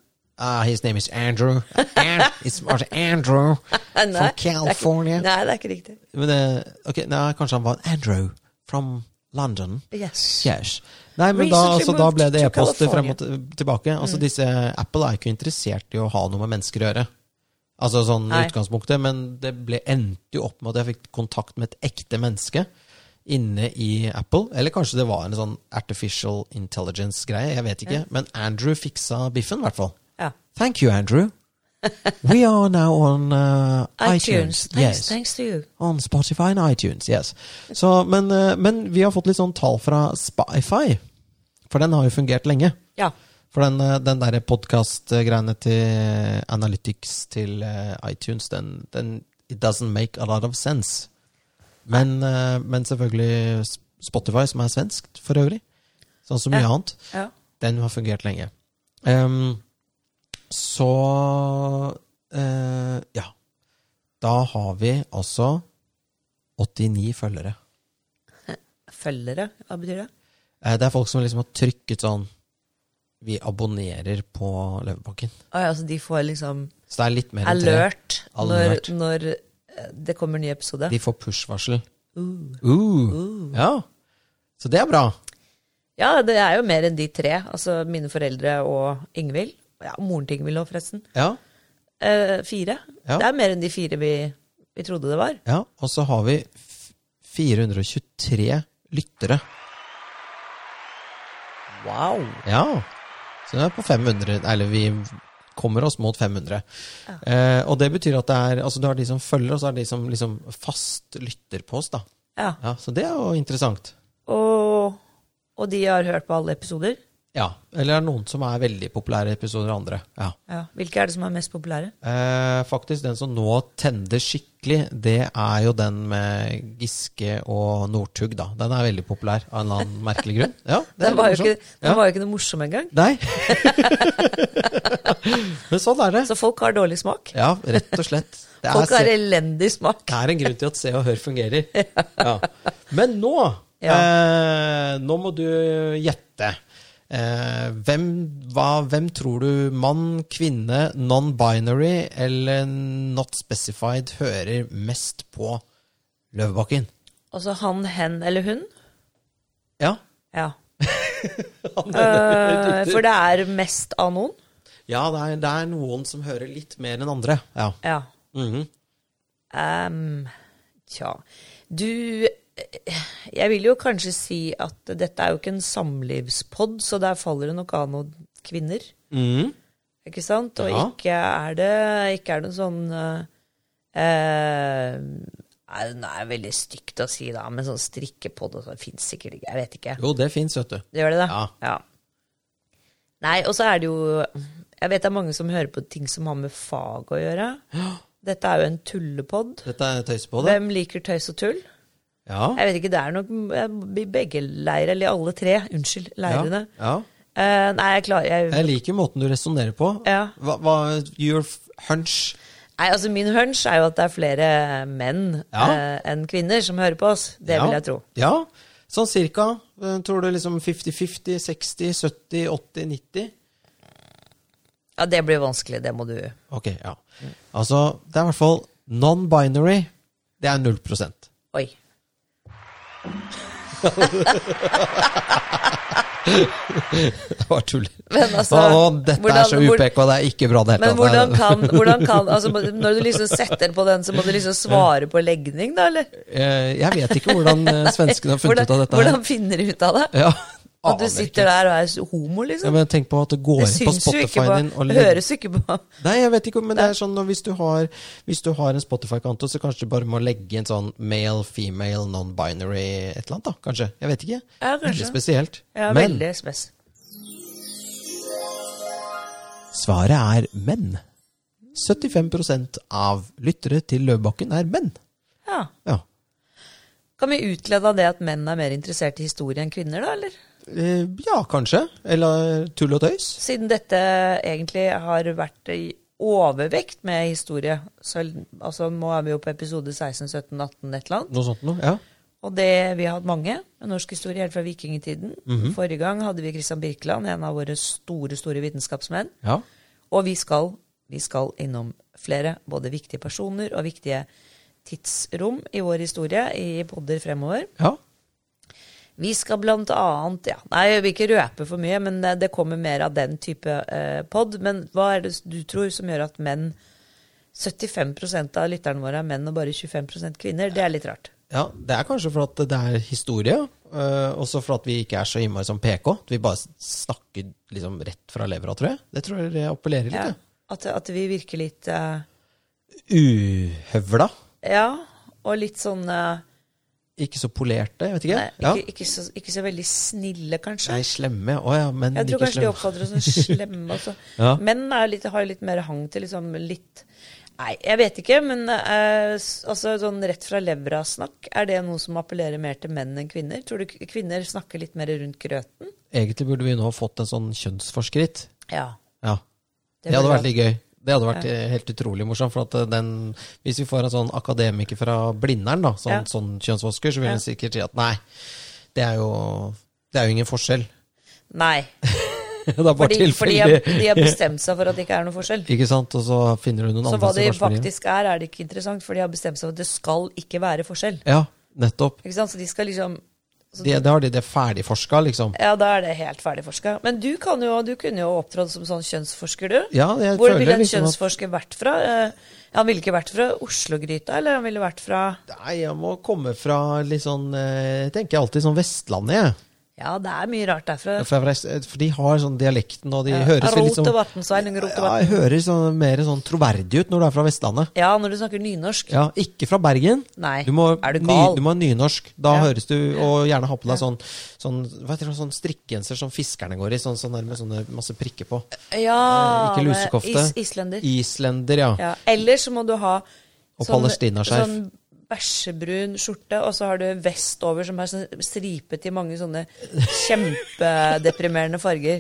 Speaker 1: ah, his name is Andrew.
Speaker 2: [LAUGHS]
Speaker 1: And, it's also Andrew
Speaker 2: Nei,
Speaker 1: from California.
Speaker 2: Nei, det er ikke riktig.
Speaker 1: Men, eh, ok, nei, kanskje han var Andrew from London.
Speaker 2: Yes.
Speaker 1: Yes. Nei, men da,
Speaker 2: Recently
Speaker 1: altså, da
Speaker 2: moved
Speaker 1: ble det
Speaker 2: to
Speaker 1: e-poster frem
Speaker 2: California. Mm.
Speaker 1: og t- tilbake. Altså, disse, Apple er jo ikke interessert i å ha noe med mennesker å gjøre. Altså sånn i
Speaker 2: Nei.
Speaker 1: utgangspunktet, men det ble, endte jo opp med at jeg fikk kontakt med et ekte menneske inne i Apple. Eller kanskje det var en sånn artificial intelligence-greie, jeg vet ikke. Men Andrew fiksa biffen, i hvert fall.
Speaker 2: Ja.
Speaker 1: Thank you, Andrew. We are now on uh, iTunes.
Speaker 2: iTunes. Thanks,
Speaker 1: Yes.
Speaker 2: thanks to you.
Speaker 1: On Spotify and iTunes, yes. Så, men, eh, men vi har fått litt sånn tall fra Spotify, for den har jo fungert lenge.
Speaker 2: Ja.
Speaker 1: For den, eh, den derre podkast-greiene til Analytics til eh, iTunes, den, den It doesn't make a lot of sense. Men, eh, men selvfølgelig S- Spotify, som er svensk for øvrig, sånn som mye
Speaker 2: Ja.
Speaker 1: annet,
Speaker 2: ja.
Speaker 1: den har fungert lenge. Ehm, så eh, Ja. Da har vi altså 89 følgere.
Speaker 2: Følgere, hva betyr det?
Speaker 1: Eh, det er folk som liksom har trykket sånn Vi abonnerer på Løvebakken.
Speaker 2: Å ja, så de får liksom
Speaker 1: Så det er litt mer enn tre.
Speaker 2: alert når,
Speaker 1: Alert.
Speaker 2: når eh, det kommer en ny episode.
Speaker 1: De får push-varsel.
Speaker 2: Uh.
Speaker 1: Uh, Ja. Så det er bra.
Speaker 2: Ja, det er jo mer enn de tre. Altså mine foreldre og Ingvild. Ja, og moren til Ingvild òg, forresten.
Speaker 1: Ja.
Speaker 2: Eh, fire.
Speaker 1: Ja.
Speaker 2: Det er mer enn de fire vi, vi trodde det var.
Speaker 1: ja. Og så har vi f- 423 lyttere.
Speaker 2: Wow.
Speaker 1: Ja. Så den er på 500, eller vi kommer oss mot 500. Eh, og det betyr at det er Altså du har de som følger oss, og så er det de som liksom fast lytter på oss, da.
Speaker 2: Ja.
Speaker 1: Ja, Så det er jo interessant.
Speaker 2: Og, og de har hørt på alle episoder.
Speaker 1: Ja. Eller er det noen som er veldig populære i episoder og andre. Ja.
Speaker 2: Ja. Hvilke er det som er mest populære?
Speaker 1: Eh, faktisk, den som nå tender skikkelig, det er jo den med Giske og Northug, da. Den er veldig populær av en eller annen merkelig grunn. Ja, det er
Speaker 2: [LAUGHS] Den var, jo
Speaker 1: morsomt.
Speaker 2: ikke, den var jo ikke noe morsom engang.
Speaker 1: Nei. [LAUGHS] Men sånn er det.
Speaker 2: Så folk har dårlig smak.
Speaker 1: Ja, rett og slett. Det er,
Speaker 2: Folk har
Speaker 1: se,
Speaker 2: elendig smak.
Speaker 1: det er en grunn til at Se og Hør
Speaker 2: [LAUGHS]
Speaker 1: fungerer. Ja. Men nå
Speaker 2: Ja.
Speaker 1: eh, Nå må du gjette. Eh, hvem, hva, hvem tror du mann, kvinne, non-binary eller not specified hører mest på Løvebakken?
Speaker 2: Altså han, hen eller hun.
Speaker 1: Ja. [LAUGHS]
Speaker 2: Ja. Eh, for det er mest av noen.
Speaker 1: Ja, det er, det er noen som hører litt mer enn andre. Ja.
Speaker 2: Ja.
Speaker 1: Mhm.
Speaker 2: Ehm, tja. Du eh, Jeg vil jo kanskje si at dette er jo ikke en samlivspodd, så der faller det nok av noen kvinner.
Speaker 1: Mhm.
Speaker 2: Ikke sant? Og
Speaker 1: Ja.
Speaker 2: ikke er det ikke er det noe sånn eh, eh, Nei, det er veldig stygt å si, da, men sånn strikkepod og sånn fins sikkert ikke. Jeg vet ikke.
Speaker 1: Jo, det fins, vet du.
Speaker 2: Det gjør det, det?
Speaker 1: Ja.
Speaker 2: Nei, og så er det jo Jeg vet det er mange som hører på ting som har med fag å gjøre. Dette er jo en tullepod.
Speaker 1: Dette er tøys på det.
Speaker 2: Hvem liker tøys og tull?
Speaker 1: Ja.
Speaker 2: Jeg vet ikke, det er nok i begge leirer, eller i alle tre, unnskyld, leirene.
Speaker 1: Ja. ja.
Speaker 2: Eh, nei, jeg klarer jeg,
Speaker 1: Jeg liker måten du resonnerer på.
Speaker 2: Ja.
Speaker 1: Hva, hva Your f- hunch
Speaker 2: Nei, altså Min hunch er jo at det er flere menn
Speaker 1: Ja.
Speaker 2: eh, enn kvinner som hører på oss. Det
Speaker 1: ja.
Speaker 2: vil jeg tro.
Speaker 1: Ja. Sånn cirka. Eh, Tror du liksom 50-50, 60, 70, 80, 90?
Speaker 2: Ja, Det blir vanskelig, det må du
Speaker 1: Ok, ja. Altså, det er i hvert fall non-binary. Det er 0
Speaker 2: Oi.
Speaker 1: [LAUGHS]
Speaker 2: [LAUGHS]
Speaker 1: Det var tull.
Speaker 2: Men altså,
Speaker 1: Å, dette
Speaker 2: hvordan-
Speaker 1: er så
Speaker 2: hvor-
Speaker 1: UPK, det er ikke bra, det hele
Speaker 2: Men
Speaker 1: tatt.
Speaker 2: hvordan kan, hvordan kan
Speaker 1: [LAUGHS]
Speaker 2: altså, Når du liksom setter på den, så må du liksom svare på legning, da, eller?
Speaker 1: Eh, Jeg vet ikke hvordan
Speaker 2: [LAUGHS]
Speaker 1: eh, svenskene har funnet
Speaker 2: Hvordan,
Speaker 1: ut av dette. her.
Speaker 2: hvordan finner de ut av det?
Speaker 1: Ja,
Speaker 2: At du
Speaker 1: aner
Speaker 2: sitter
Speaker 1: ikke.
Speaker 2: der og er homo,
Speaker 1: ja,
Speaker 2: liksom?
Speaker 1: men Tenk på at det går
Speaker 2: Det
Speaker 1: inn på
Speaker 2: syns jo ikke
Speaker 1: Spotify
Speaker 2: på
Speaker 1: din og
Speaker 2: Det
Speaker 1: legger
Speaker 2: høres jo ikke på [LAUGHS]
Speaker 1: Nei, jeg vet ikke, men det er sånn når hvis du har, hvis du har en Spotify-konto, så kanskje du bare må legge inn sånn male, female, non-binary, et eller annet da, kanskje. Jeg vet ikke.
Speaker 2: Ja, kanskje.
Speaker 1: Veldig spesielt.
Speaker 2: Ja,
Speaker 1: men
Speaker 2: veldig spes.
Speaker 1: svaret er menn. 75 av lyttere til Løvebakken er menn.
Speaker 2: Ja.
Speaker 1: Ja.
Speaker 2: Kan vi utlede av det at menn er mer interessert i historie enn kvinner, da, eller?
Speaker 1: Eh, ja, kanskje. Eller tull og tøys.
Speaker 2: Siden dette egentlig har vært i overvekt med historie, så altså, nå er vi jo på episode 16, 17, 18, et eller annet.
Speaker 1: Noe sånt noe, ja.
Speaker 2: Og det, vi har hatt mange. Norsk historie helt fra vikingtiden. Forrige gang hadde vi Christian Birkeland, en av våre store store vitenskapsmenn.
Speaker 1: Ja.
Speaker 2: Og vi skal, vi skal innom flere, både viktige personer og viktige tidsrom i vår historie i podder fremover.
Speaker 1: Ja.
Speaker 2: Vi skal blant annet ja, Nei, jeg vil ikke røpe for mye, men eh, det kommer mer av den type eh, pod. Men hva er det du tror som gjør at menn 75 av lytterne våre er menn og bare 25 kvinner? Det er litt rart.
Speaker 1: Ja, det er kanskje for at det er historie, øh, også for at vi ikke er så innmari som PK. at Vi bare snakker liksom rett fra levra, tror jeg. Det tror jeg det appellerer litt.
Speaker 2: Ja,
Speaker 1: det.
Speaker 2: at, at vi virker litt eh,
Speaker 1: Uhøvla.
Speaker 2: Ja, og litt sånn eh,
Speaker 1: Ikke så polerte, jeg vet ikke.
Speaker 2: nei,
Speaker 1: ja.
Speaker 2: ikke, ikke, så, ikke så veldig snille, kanskje.
Speaker 1: Nei, slemme. Å ja, men
Speaker 2: Jeg tror
Speaker 1: ikke
Speaker 2: kanskje de
Speaker 1: slemme.
Speaker 2: oppfatter oss som slemme også.
Speaker 1: [LAUGHS] Ja.
Speaker 2: Menn er jo litt, har jo litt mer hang til liksom litt Nei, jeg vet ikke, men eh, s- altså, sånn rett fra levra-snakk, er det noe som appellerer mer til menn enn kvinner? Tror du k- kvinner snakker litt mer rundt grøten?
Speaker 1: Egentlig burde vi nå ha fått en sånn kjønnsforskritt.
Speaker 2: Ja.
Speaker 1: Ja. Det,
Speaker 2: Det
Speaker 1: hadde
Speaker 2: burde
Speaker 1: vært litt gøy. Det hadde vært eh, helt utrolig morsomt. For at eh, den, hvis vi får en sånn akademiker fra Blindern, da, sånn,
Speaker 2: Ja.
Speaker 1: sånn kjønnsforsker, så vil
Speaker 2: Ja.
Speaker 1: hun sikkert si at nei, det er jo, det er jo ingen forskjell.
Speaker 2: Nei.
Speaker 1: [LAUGHS] det er bare
Speaker 2: Fordi, fordi de,
Speaker 1: tilfeldig.
Speaker 2: har- de har bestemt seg for at det ikke er noe forskjell.
Speaker 1: [LAUGHS] Ikke sant? Og så finner du noen
Speaker 2: Så
Speaker 1: andre
Speaker 2: hva
Speaker 1: som
Speaker 2: det
Speaker 1: kanskje blir-
Speaker 2: faktisk er, er det ikke interessant, for de har bestemt seg for at det skal ikke være forskjell.
Speaker 1: Ja, nettopp.
Speaker 2: Ikke sant? Så de skal liksom så
Speaker 1: Det, det har de det ferdigforska, liksom.
Speaker 2: Ja, da er det helt ferdigforska. Men du, kan jo, du kunne jo opptrådt som sånn kjønnsforsker, du.
Speaker 1: Ja, jeg
Speaker 2: Hvor
Speaker 1: føler
Speaker 2: ville
Speaker 1: liksom
Speaker 2: en
Speaker 1: at-
Speaker 2: kjønnsforsker vært fra? Eh, Han ville ikke vært fra Oslogryta, eller han ville vært fra
Speaker 1: Nei, jeg må komme fra litt sånn eh, Jeg tenker alltid sånn Vestlandet, jeg.
Speaker 2: Ja, det er mye rart derfra.
Speaker 1: For, jeg var rest- for de har sånn dialekten, og de høres jo litt
Speaker 2: Rot
Speaker 1: sånn
Speaker 2: og vatn, Sveinung, rot og
Speaker 1: Ja,
Speaker 2: vatn.
Speaker 1: jeg hører sånn, mer sånn troverdig ut når du er fra Vestlandet.
Speaker 2: Ja, når du snakker nynorsk.
Speaker 1: Ja, ikke fra Bergen.
Speaker 2: Nei,
Speaker 1: Du må,
Speaker 2: er du
Speaker 1: ny,
Speaker 2: gal?
Speaker 1: du må ha nynorsk. Da
Speaker 2: Ja.
Speaker 1: høres du Og gjerne ha på deg sånn, sånn, hva heter det, sånn strikkegenser som fiskerne går i. Sånn, sånn der med sånne masse prikker på.
Speaker 2: Ja,
Speaker 1: Eh, Ikke
Speaker 2: med
Speaker 1: lusekofte.
Speaker 2: eh, Is islender.
Speaker 1: Islender, ja.
Speaker 2: Ja. Eller så må du ha
Speaker 1: Og palestinaskjerf.
Speaker 2: sånn bæsjebrun skjorte, og så har du vest over som er sånn stripet i mange sånne
Speaker 1: [LAUGHS]
Speaker 2: kjempedeprimerende farger.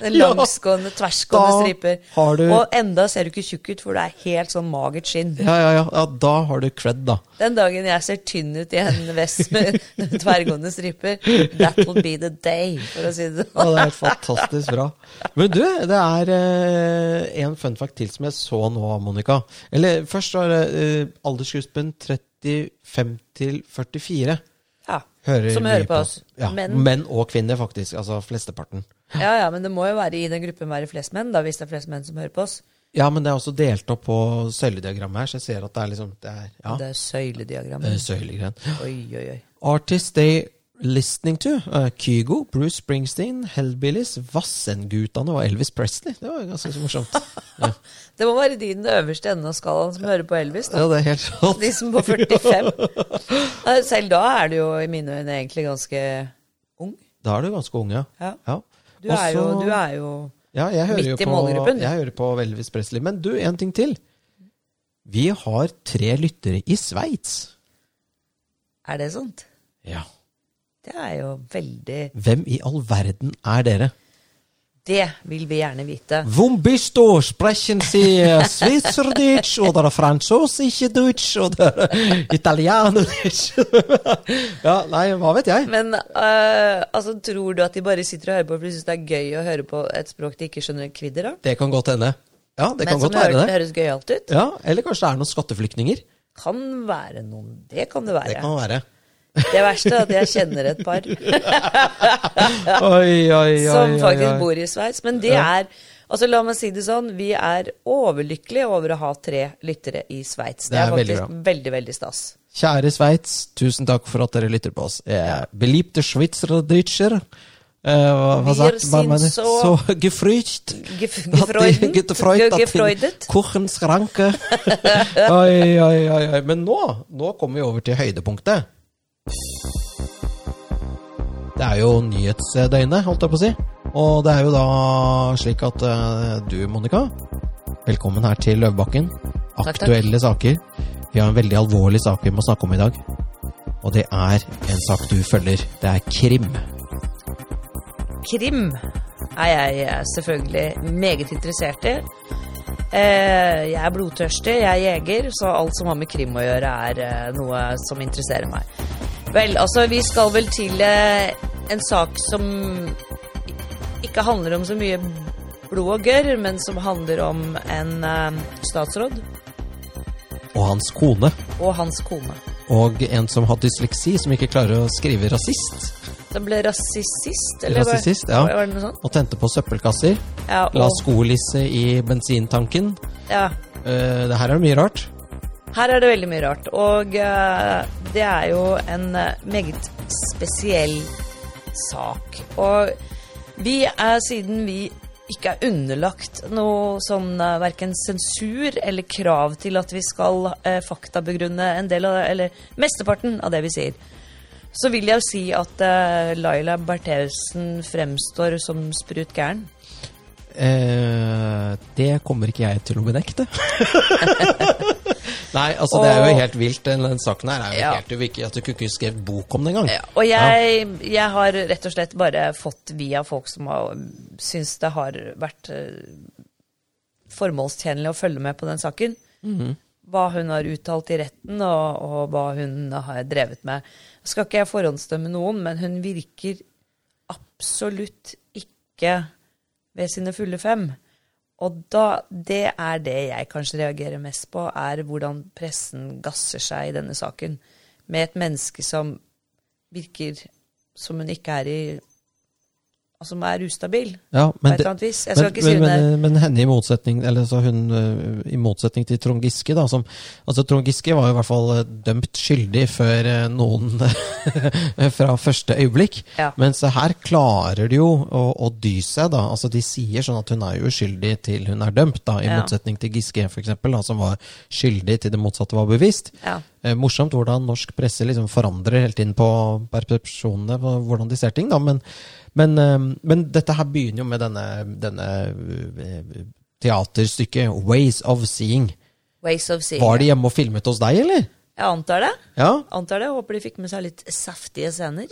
Speaker 2: Langsgående, tversgående
Speaker 1: Da
Speaker 2: striper.
Speaker 1: har du-
Speaker 2: Og enda ser du ikke tjukk ut, for du er helt sånn magert skinn.
Speaker 1: Ja, ja, ja, ja. Da har du cred, da.
Speaker 2: Den dagen jeg ser tynn ut i en vest med [LAUGHS] tverrgående striper, that'll be the day, for å si det
Speaker 1: Ja,
Speaker 2: sånn.
Speaker 1: det er fantastisk bra. Men du, det er eh, en fun fact til som jeg så nå, Monica. Eller først var det eh, aldersgruppen 35 til 44.
Speaker 2: Ja.
Speaker 1: Hører
Speaker 2: Som
Speaker 1: mye
Speaker 2: hører på oss.
Speaker 1: Ja, menn.
Speaker 2: Men
Speaker 1: og kvinner, faktisk. Altså flesteparten.
Speaker 2: Ja, ja, men det må jo være i den gruppen være flest menn, da, hvis det er flest menn som hører på oss.
Speaker 1: Ja, men det er også delt opp på søylediagrammet her, så jeg ser at det er liksom det er, ja,
Speaker 2: Det er søylediagrammet.
Speaker 1: eh, søylegren.
Speaker 2: Oi, oi, oi.
Speaker 1: Artists, they listening to eh, Kygo, Bruce Springsteen, Hellbillies, Vassendgutane og Elvis Presley. Det var ganske så morsomt.
Speaker 2: [LAUGHS] Det må være de i den øverste enden av skalaen som hører på Elvis. Da.
Speaker 1: Ja, det er helt sant.
Speaker 2: De som på
Speaker 1: [LAUGHS]
Speaker 2: 45. Nei, Selv da er du jo i mine øyne egentlig ganske ung.
Speaker 1: Da er du ganske ung, ja.
Speaker 2: Ja.
Speaker 1: ja.
Speaker 2: Du er jo,
Speaker 1: Også-
Speaker 2: du er jo
Speaker 1: Ja, jeg hører
Speaker 2: Midt
Speaker 1: jo
Speaker 2: i
Speaker 1: på,
Speaker 2: målgruppen.
Speaker 1: Jeg hører på Elvis Presley. Men du, en ting til. Vi har tre lyttere i Sveits.
Speaker 2: Er det sant?
Speaker 1: Ja.
Speaker 2: Det er jo veldig
Speaker 1: Hvem i all verden er dere?
Speaker 2: Det vil vi gjerne vite.
Speaker 1: Vom bist du? Sprechen Sie
Speaker 2: [LAUGHS]
Speaker 1: Schweizerdeutsch oder Franzosische Deutsch oder Italianisch? [LAUGHS] ja, nei, hva vet jeg?
Speaker 2: Men øh, altså, tror du at de bare sitter og hører på fordi de syns det er gøy å høre på et språk de ikke skjønner kvidder av?
Speaker 1: Det kan godt hende. Ja, det kan
Speaker 2: Men som
Speaker 1: godt være
Speaker 2: hører,
Speaker 1: det.
Speaker 2: høres gøyalt ut?
Speaker 1: Ja, Eller kanskje det er noen skatteflyktninger.
Speaker 2: Kan være noen. Det kan det
Speaker 1: Det
Speaker 2: være.
Speaker 1: kan være.
Speaker 2: Det verste er at jeg kjenner et par
Speaker 1: [LAUGHS] Oi, oi, oi.
Speaker 2: som
Speaker 1: oi,
Speaker 2: faktisk
Speaker 1: oi.
Speaker 2: bor i Sveits. Men det er Altså, la meg si det sånn, vi er overlykkelige over å ha tre lyttere i Sveits. Det,
Speaker 1: Det er
Speaker 2: er
Speaker 1: veldig
Speaker 2: faktisk veldig, veldig, stas.
Speaker 1: Kjære Sveits, tusen takk for at dere lytter på oss. Eh, beliebte Schweizerdeutscher. Eh, hva, hva
Speaker 2: Wir
Speaker 1: sagt
Speaker 2: sind
Speaker 1: man?
Speaker 2: so-
Speaker 1: so gefreut.
Speaker 2: Gef-
Speaker 1: At de-
Speaker 2: gefreuden?
Speaker 1: gefreut at
Speaker 2: Ge- gefreudet?
Speaker 1: de- Kuchens ranke. [LAUGHS] oi, oi, oi, oi. Men nå, nå kommer vi over til høydepunktet. Det er jo nyhetsdøgnet, holdt jeg på å si. Og det er jo da slik at eh, du, Monica, velkommen her til Løvebakken.
Speaker 2: takk.
Speaker 1: Aktuelle saker. Vi har en veldig alvorlig sak vi må snakke om i dag. Og det er en sak du følger. Det er krim.
Speaker 2: Krim er jeg eh, selvfølgelig meget interessert i. Eh, Jeg er blodtørstig, jeg er jeger, så alt som har med krim å gjøre, er eh, noe som interesserer meg. Vel, altså, vi skal vel til eh, en sak som ikke handler om så mye blod og gørr, men som handler om en eh, statsråd
Speaker 1: Og hans kone.
Speaker 2: og hans kone.
Speaker 1: Og en som har dysleksi, som ikke klarer å skrive rasist.
Speaker 2: Som ble rasist, eller? hva-
Speaker 1: Rasist, ja.
Speaker 2: Var det noe sånt?
Speaker 1: Og tente på søppelkasser.
Speaker 2: Ja,
Speaker 1: La
Speaker 2: og,
Speaker 1: skolisse i bensintanken.
Speaker 2: ja.
Speaker 1: Eh, det her er mye rart.
Speaker 2: Her er det veldig mye rart, og eh, det er jo en eh, meget spesiell sak. Og vi er, siden vi ikke er underlagt noe sånn eh, verken sensur eller krav til at vi skal eh, faktabegrunne en del av det, eller mesteparten av det vi sier, så vil jeg jo si at eh, Laila Bertheussen fremstår som sprut gæren.
Speaker 1: Eh, det kommer ikke jeg til å benekte. [LAUGHS] Nei, altså det er jo
Speaker 2: Og-
Speaker 1: helt vilt. Den, den saken her er jo
Speaker 2: Ja.
Speaker 1: helt uvirkelig. At du kunne ikke skrevet bok om det engang.
Speaker 2: Ja, og jeg, jeg har rett og slett bare fått via folk som har syns det har vært eh, formålstjenlig å følge med på den saken. Hva hun har uttalt i retten, og, og hva hun har drevet med. Skal ikke jeg forhåndsdømme noen, men hun virker absolutt ikke ved sine fulle fem. Og da, det er det jeg kanskje reagerer mest på, er hvordan pressen gasser seg i denne saken. Med et menneske som virker som hun ikke er i Altså som er ustabil,
Speaker 1: Ja,
Speaker 2: på
Speaker 1: men
Speaker 2: et
Speaker 1: det,
Speaker 2: eller annet vis. Jeg skal ikke si
Speaker 1: men,
Speaker 2: hun er
Speaker 1: men, men henne i motsetning Eller så hun eh, i motsetning til Trond Giske, da, som Altså, Trond Giske var jo i hvert fall eh, dømt skyldig før eh, noen [LAUGHS] fra første øyeblikk.
Speaker 2: Ja.
Speaker 1: Mens her klarer de jo å, å dy seg, da. Altså, de sier sånn at hun er jo uskyldig til hun er dømt, da. I
Speaker 2: Ja.
Speaker 1: motsetning til Giske, for eksempel, da, som var skyldig til det motsatte var bevisst.
Speaker 2: Ja.
Speaker 1: Eh, morsomt hvordan norsk presse liksom forandrer hele tiden på persepsjonene, på hvordan de ser ting. Da. Men, men, eh, men dette her begynner jo med denne, denne eh, teaterstykket 'Ways of Seeing'.
Speaker 2: Ways of seeing.
Speaker 1: Var de hjemme og filmet hos deg, eller?
Speaker 2: Jeg antar det.
Speaker 1: Ja?
Speaker 2: Antar det. Håper de fikk med seg litt saftige
Speaker 1: [LAUGHS]
Speaker 2: scener.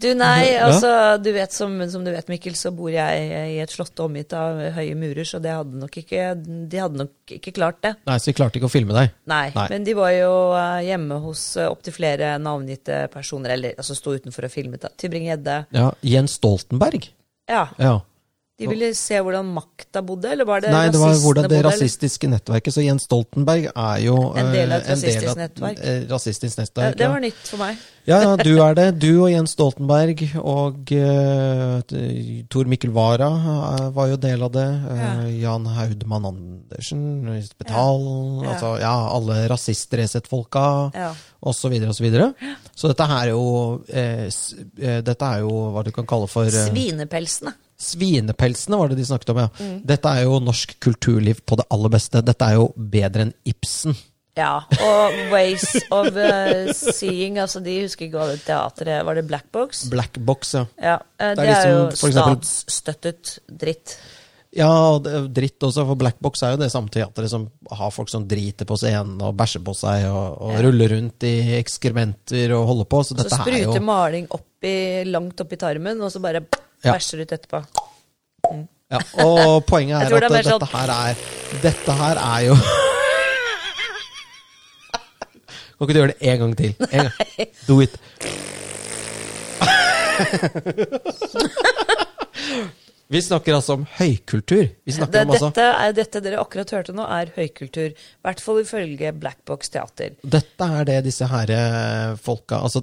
Speaker 2: du, nei, altså, du vet som, som du vet, Mikkel, så bor jeg i et slott omgitt av høye murer, så det hadde nok ikke, de hadde nok ikke klart det.
Speaker 1: Nei, så de klarte ikke å filme deg.
Speaker 2: Nei,
Speaker 1: Nei.
Speaker 2: men de var jo eh, hjemme hos uh, opptil flere navngitte personer, eller altså sto utenfor og filmet. da. Tybring-Gjedde.
Speaker 1: Ja, Jens Stoltenberg.
Speaker 2: Ja.
Speaker 1: Ja.
Speaker 2: De ville se hvordan makta bodde, eller var det
Speaker 1: Nei, det var
Speaker 2: rasistene
Speaker 1: hvordan det
Speaker 2: bodde, eller?
Speaker 1: rasistiske nettverket. Så Jens Stoltenberg er jo
Speaker 2: En del av et
Speaker 1: eh,
Speaker 2: rasistisk
Speaker 1: av-
Speaker 2: nettverk.
Speaker 1: eh, rasistisk
Speaker 2: Ja,
Speaker 1: nettverk.
Speaker 2: det
Speaker 1: Ja,
Speaker 2: var nytt for meg.
Speaker 1: ja, ja, du er det. Du og Jens Stoltenberg og uh, Tor Mikkel Wara eh, var jo del av det. eh, Jan Haudmann Andersen, Lisbeth Hall
Speaker 2: Ja.
Speaker 1: Altså, ja, alle rasist-Resett-folka.
Speaker 2: Ja.
Speaker 1: Og så videre og så videre. Så dette her er jo eh, s- eh, Dette er jo hva du kan kalle for eh,
Speaker 2: Svinepelsene.
Speaker 1: Svinepelsene var det de snakket om, ja.
Speaker 2: Mm.
Speaker 1: Dette er jo norsk kulturliv på det aller beste. Dette er jo bedre enn Ibsen.
Speaker 2: Ja, og Ways of eh, Seeing, altså de husker ikke hva det teatret Var det Black Box?
Speaker 1: Black box, ja.
Speaker 2: Ja, eh,
Speaker 1: Det er
Speaker 2: det er jo
Speaker 1: liksom, for eksempel-
Speaker 2: statsstøttet dritt.
Speaker 1: Ja, og det er dritt også, for Black box er jo det samme teatret som har folk som driter på scenen og bæsjer på seg og, og ruller rundt i ekskrementer og holder på. Så
Speaker 2: Så
Speaker 1: dette her er
Speaker 2: spruter
Speaker 1: jo
Speaker 2: maling opp i, langt opp i tarmen, og så bare
Speaker 1: Ja.
Speaker 2: bæsjer ut etterpå.
Speaker 1: ja, Og poenget er
Speaker 2: Jeg tror
Speaker 1: at
Speaker 2: det er mer
Speaker 1: dette her er Dette her er jo Kan ikke du gjøre det en gang til? En gang. Do
Speaker 2: [LAUGHS]
Speaker 1: it. Vi snakker altså om høykultur. Vi snakker
Speaker 2: Det,
Speaker 1: om altså
Speaker 2: dette, er, dette dere akkurat hørte nå, er høykultur. I hvert fall ifølge Black Box Teater.
Speaker 1: Dette er det disse her eh, folka Altså,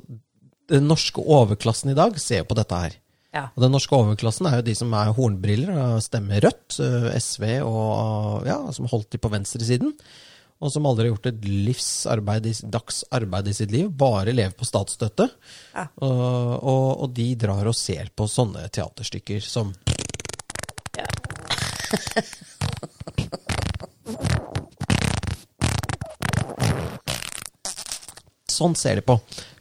Speaker 1: den norske overklassen i dag ser på dette her.
Speaker 2: Ja.
Speaker 1: Og den norske overklassen er jo de som er hornbriller og stemmer rødt, eh, SV og ja, som holdt de på venstresiden. Og som aldri har gjort et livsarbeid i, dags arbeid i sitt liv, bare lever på statsstøtte.
Speaker 2: Ja.
Speaker 1: Og, og, og de drar og ser på sånne teaterstykker som Sånn ser de på.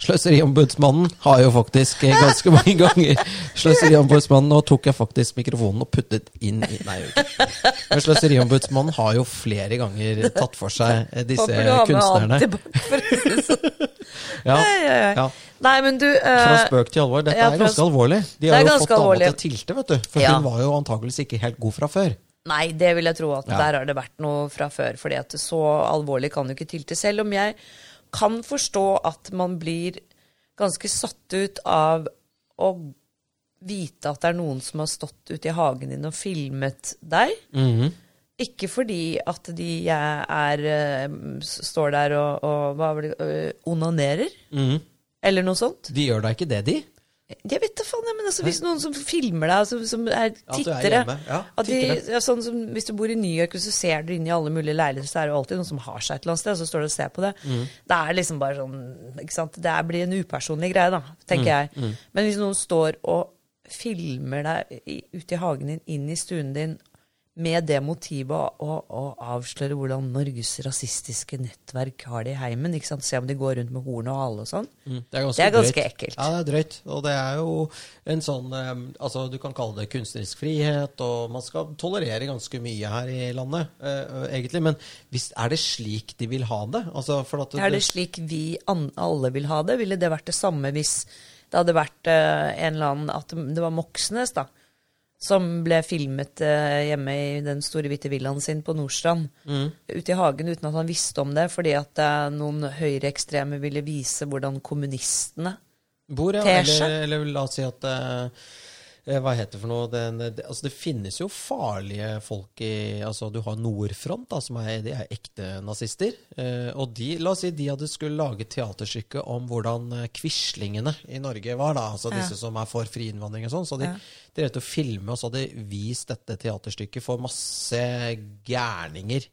Speaker 1: Sløseriombudsmannen har jo faktisk eh, ganske
Speaker 2: [LAUGHS]
Speaker 1: mange ganger Sløseriombudsmannen Nå tok jeg faktisk mikrofonen og puttet inn i Nei, jeg gjorde ikke det. Men Sløseriombudsmannen har jo flere ganger tatt for seg eh, disse
Speaker 2: Håper du har med
Speaker 1: kunstnerne.
Speaker 2: antibac, for å si det
Speaker 1: [LAUGHS]
Speaker 2: sånn.
Speaker 1: Ja,
Speaker 2: Ai, ai, ai.
Speaker 1: ja.
Speaker 2: Nei, men du eh,
Speaker 1: Fra spøk til alvor. Dette
Speaker 2: ja,
Speaker 1: er
Speaker 2: fra-
Speaker 1: ganske alvorlig. De
Speaker 2: Det
Speaker 1: har
Speaker 2: er
Speaker 1: jo
Speaker 2: ganske
Speaker 1: fått dama
Speaker 2: alvorlig.
Speaker 1: til å tilte, vet du. For
Speaker 2: Ja.
Speaker 1: hun var jo antakeligvis ikke helt god fra før.
Speaker 2: Nei, det vil jeg tro at
Speaker 1: Ja.
Speaker 2: der har det vært noe fra før. fordi at det så alvorlig kan du ikke tilte. Selv om jeg kan forstå at man blir ganske satt ut av å vite at det er noen som har stått ute i hagen din og filmet deg. Ikke fordi at de eh, er eh, s- står der og, og hva var det, eh, onanerer, eller noe sånt.
Speaker 1: De gjør da ikke det, de?
Speaker 2: Jeg vet da faen, jeg, men altså, hvis noen som filmer deg, altså, som er
Speaker 1: At du er
Speaker 2: tittere
Speaker 1: hjemme, ja,
Speaker 2: at de,
Speaker 1: tittere.
Speaker 2: ja, sånn som, Hvis du bor i New York og så ser du inn i alle mulige leiligheter, så er det jo alltid noen som har seg et eller annet sted, og så står du og ser på det.
Speaker 1: Mm.
Speaker 2: Det er liksom bare sånn ikke sant? Det er- blir en upersonlig greie, da,
Speaker 1: Mm,
Speaker 2: tenker jeg. Men hvis noen står og filmer deg i, ute i hagen din, inn i stuen din, med det motivet å- å å avsløre hvordan Norges rasistiske nettverk har det i heimen, ikke sant? se om de går rundt med horn og hale og sånn,
Speaker 1: Mm. Det er ganske,
Speaker 2: det er ganske
Speaker 1: drøyt.
Speaker 2: ekkelt.
Speaker 1: Ja, det er drøyt. Og det er jo en sånn eh, Altså, du kan kalle det kunstnerisk frihet, og man skal tolerere ganske mye her i landet, eh, egentlig. Men hvis, er det slik de vil ha det? Altså, for at
Speaker 2: Er det slik vi an alle vil ha det? Ville det vært det samme hvis det hadde vært eh, en eller annen At det var Moxnes, da. Som ble filmet eh, hjemme i den store hvite villaen sin på Nordstrand.
Speaker 1: Mm.
Speaker 2: Ute i hagen uten at han visste om det, fordi at eh, noen høyreekstreme ville vise hvordan kommunistene
Speaker 1: Bor, ja.
Speaker 2: Tesje.
Speaker 1: Eller, eller la oss si at eh, eh, Hva heter det for noe? Den, det, altså det finnes jo farlige folk i altså Du har Nordfront, da, som er, de er ekte nazister. Eh, og de, la oss si de hadde skulle lage teaterstykke om hvordan eh, Quislingene i Norge var. da, altså Disse som er for fri innvandring og sånn. Så de
Speaker 2: Ja.
Speaker 1: drev til å filme, og så hadde de vist dette teaterstykket for masse gærninger.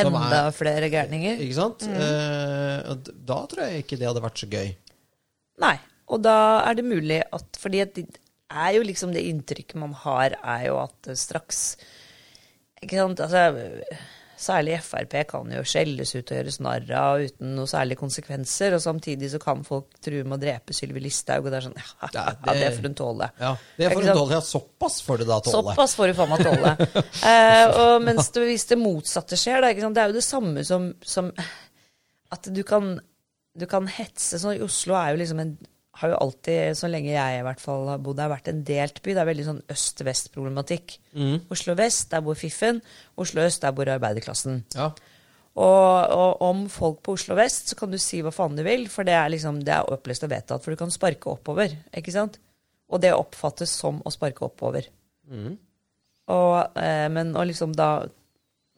Speaker 1: som er-
Speaker 2: Enda Mm. flere gærninger.
Speaker 1: Ikke sant? Eh, og d- da tror jeg ikke det hadde vært så gøy.
Speaker 2: Nei. Og da er det mulig at Fordi at det er jo liksom det inntrykket man har, er jo at eh, straks Ikke sant? Altså, særlig Frp kan jo skjelles ut og gjøres narr av uten noe særlige konsekvenser. Og samtidig så kan folk true med å drepe Sylvi Listhaug, og det er sånn Ja,
Speaker 1: Ja, det-
Speaker 2: det, det får hun tåle.
Speaker 1: Ja, Det
Speaker 2: Ikke
Speaker 1: får du
Speaker 2: sant?
Speaker 1: tåle. Ja, såpass får du da tåle.
Speaker 2: Såpass får du faen meg tåle. Eh, og mens det, hvis det motsatte skjer, da, ikke sant? det er jo det samme som, som at du kan, du kan hetse sånn. Oslo er jo liksom en har jo alltid, så lenge jeg i hvert fall har bodd her, vært en delt by. Det er veldig sånn øst-vest-problematikk. Oslo vest er hvor fiffen, Oslo øst er hvor arbeiderklassen.
Speaker 1: Ja.
Speaker 2: Og, og om folk på Oslo vest, så kan du si hva faen du vil, for det er liksom, det er opplest og vedtatt, for du kan
Speaker 1: Mm.
Speaker 2: sparke oppover, ikke sant? Og det oppfattes som å sparke oppover. Og, eh, men å liksom da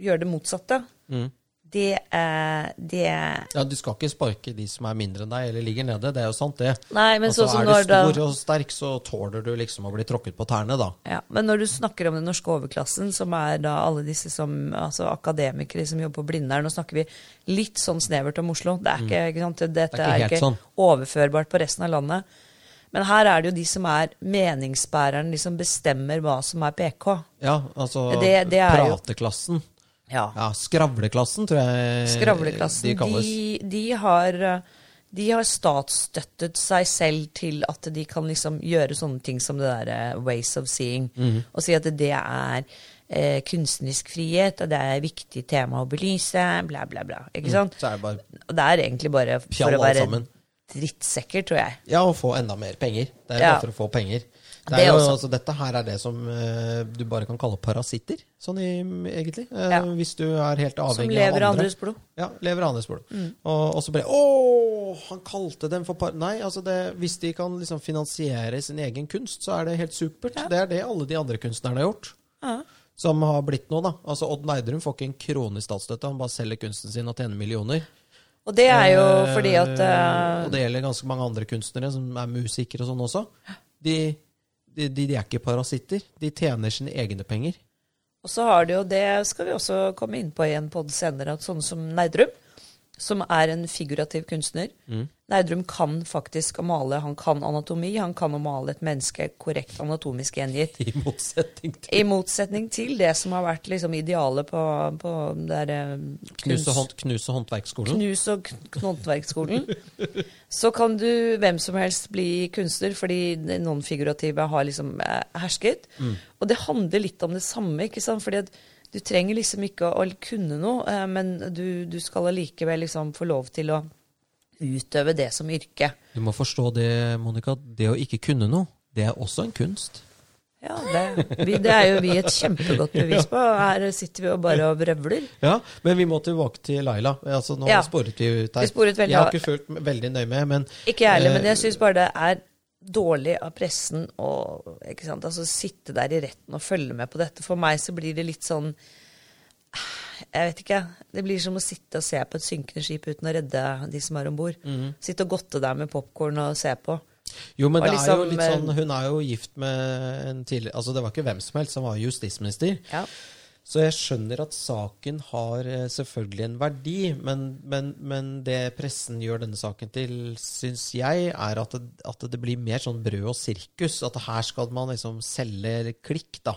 Speaker 2: gjøre det motsatte,
Speaker 1: Mm.
Speaker 2: det, eh, det
Speaker 1: Ja, Du skal ikke sparke de som er mindre enn deg eller ligger nede, det er jo sant, det.
Speaker 2: Nei, men
Speaker 1: altså,
Speaker 2: sånn som
Speaker 1: er du
Speaker 2: når da-
Speaker 1: stor og sterk, så tåler du liksom å bli tråkket på tærne, da.
Speaker 2: ja. Men når du snakker om den norske overklassen, som er da alle disse som, altså akademikere som jobber på Blindern, nå snakker vi litt sånn snevert om Oslo. Det er ikke, ikke sant, dette
Speaker 1: ikke
Speaker 2: er
Speaker 1: helt
Speaker 2: ikke
Speaker 1: sånn.
Speaker 2: overførbart på resten av landet. Men her er det jo de som er meningsbæreren, de som bestemmer hva som er PK.
Speaker 1: Ja, altså
Speaker 2: Det- det er jo-
Speaker 1: prateklassen.
Speaker 2: Ja.
Speaker 1: Ja, Skravleklassen, tror jeg
Speaker 2: Skravleklassen,
Speaker 1: Eh, de kalles.
Speaker 2: de, de har eh, de har statsstøttet seg selv til at de kan liksom gjøre sånne ting som det der eh, ways of seeing.
Speaker 1: Mhm.
Speaker 2: Og si at det er eh, kunstnerisk frihet, og det er et viktig tema å belyse, bla, bla, bla. Ikke sant?
Speaker 1: Så er det bare
Speaker 2: Og det er egentlig bare for
Speaker 1: Pjall, Mm.
Speaker 2: å
Speaker 1: alle
Speaker 2: være
Speaker 1: sammen.
Speaker 2: drittsekker, tror jeg.
Speaker 1: Ja, og få enda mer penger. Det er
Speaker 2: Ja.
Speaker 1: lettere å få penger. Det
Speaker 2: Det
Speaker 1: er jo,
Speaker 2: også.
Speaker 1: altså, dette her er det som eh, du bare kan kalle parasitter, sånn i, egentlig. Eh,
Speaker 2: Ja.
Speaker 1: Hvis du er helt
Speaker 2: Som
Speaker 1: avhengig av andre.
Speaker 2: lever av andres blod.
Speaker 1: Ja, lever av andres blod.
Speaker 2: Mm.
Speaker 1: Og, og så bare Å, han kalte dem for par... Nei, altså det, hvis de kan liksom finansiere sin egen kunst, så er det helt supert. Det er det alle de andre kunstnerne har gjort. Som har blitt noe, da. Altså Odd Nerdrum får ikke en krone i statsstøtte. Han bare selger kunsten sin og tjener millioner.
Speaker 2: Og det er jo fordi at
Speaker 1: Eh,
Speaker 2: eh,
Speaker 1: Og det gjelder ganske mange andre kunstnere som er musikere og sånn også. De, de, de, de er ikke parasitter. De tjener sine egne penger.
Speaker 2: Og så har det jo, det skal vi også komme inn på i en podd senere, at sånne som Neidrum, som er en figurativ kunstner Neidrum kan faktisk å male, han kan anatomi, han kan å male et menneske korrekt anatomisk gjengitt.
Speaker 1: I motsetning til
Speaker 2: I motsetning til det som har vært liksom idealet på, på den der eh,
Speaker 1: Knuse,
Speaker 2: kunst-
Speaker 1: hånd, knuse håndverksskolen.
Speaker 2: Knus og kn- håndverksskolen. Så kan du hvem som helst bli kunstner, fordi det non-figurative har liksom eh, hersket. Og det handler litt om det samme, ikke sant. Fordi at du trenger liksom ikke å kunne noe, eh, men du, du skal allikevel liksom få lov til å utøve det som yrke.
Speaker 1: Du må forstå det, Monica. Det å ikke kunne noe, det er også en kunst.
Speaker 2: Ja, det, vi, det er jo vi et kjempegodt bevis på. Her sitter vi og bare og vrøvler.
Speaker 1: Ja, Men vi må tilbake til Laila. Altså, nå
Speaker 2: Ja.
Speaker 1: sporet vi ut her.
Speaker 2: Vi sporet veldig
Speaker 1: jeg har
Speaker 2: av-
Speaker 1: ikke fulgt veldig nøye med, men
Speaker 2: Ikke jeg heller,
Speaker 1: eh,
Speaker 2: men jeg syns bare det er dårlig av pressen å ikke sant? Altså, sitte der i retten og følge med på dette. For meg så blir det litt sånn Jeg vet ikke. Det blir som å sitte og se på et synkende skip uten å redde de som er om bord. Sitte og godte deg med popkorn og se på.
Speaker 1: Jo, men
Speaker 2: Og
Speaker 1: det er jo
Speaker 2: liksom,
Speaker 1: litt
Speaker 2: eh,
Speaker 1: sånn Hun er jo gift med en tidligere Altså, det var ikke hvem som helst som var justisminister.
Speaker 2: Ja.
Speaker 1: Så jeg skjønner at saken har eh, selvfølgelig en verdi, men, men, men det pressen gjør denne saken til, syns jeg, er at det, at det blir mer sånn brød og sirkus. At her skal man liksom selge klikk, da.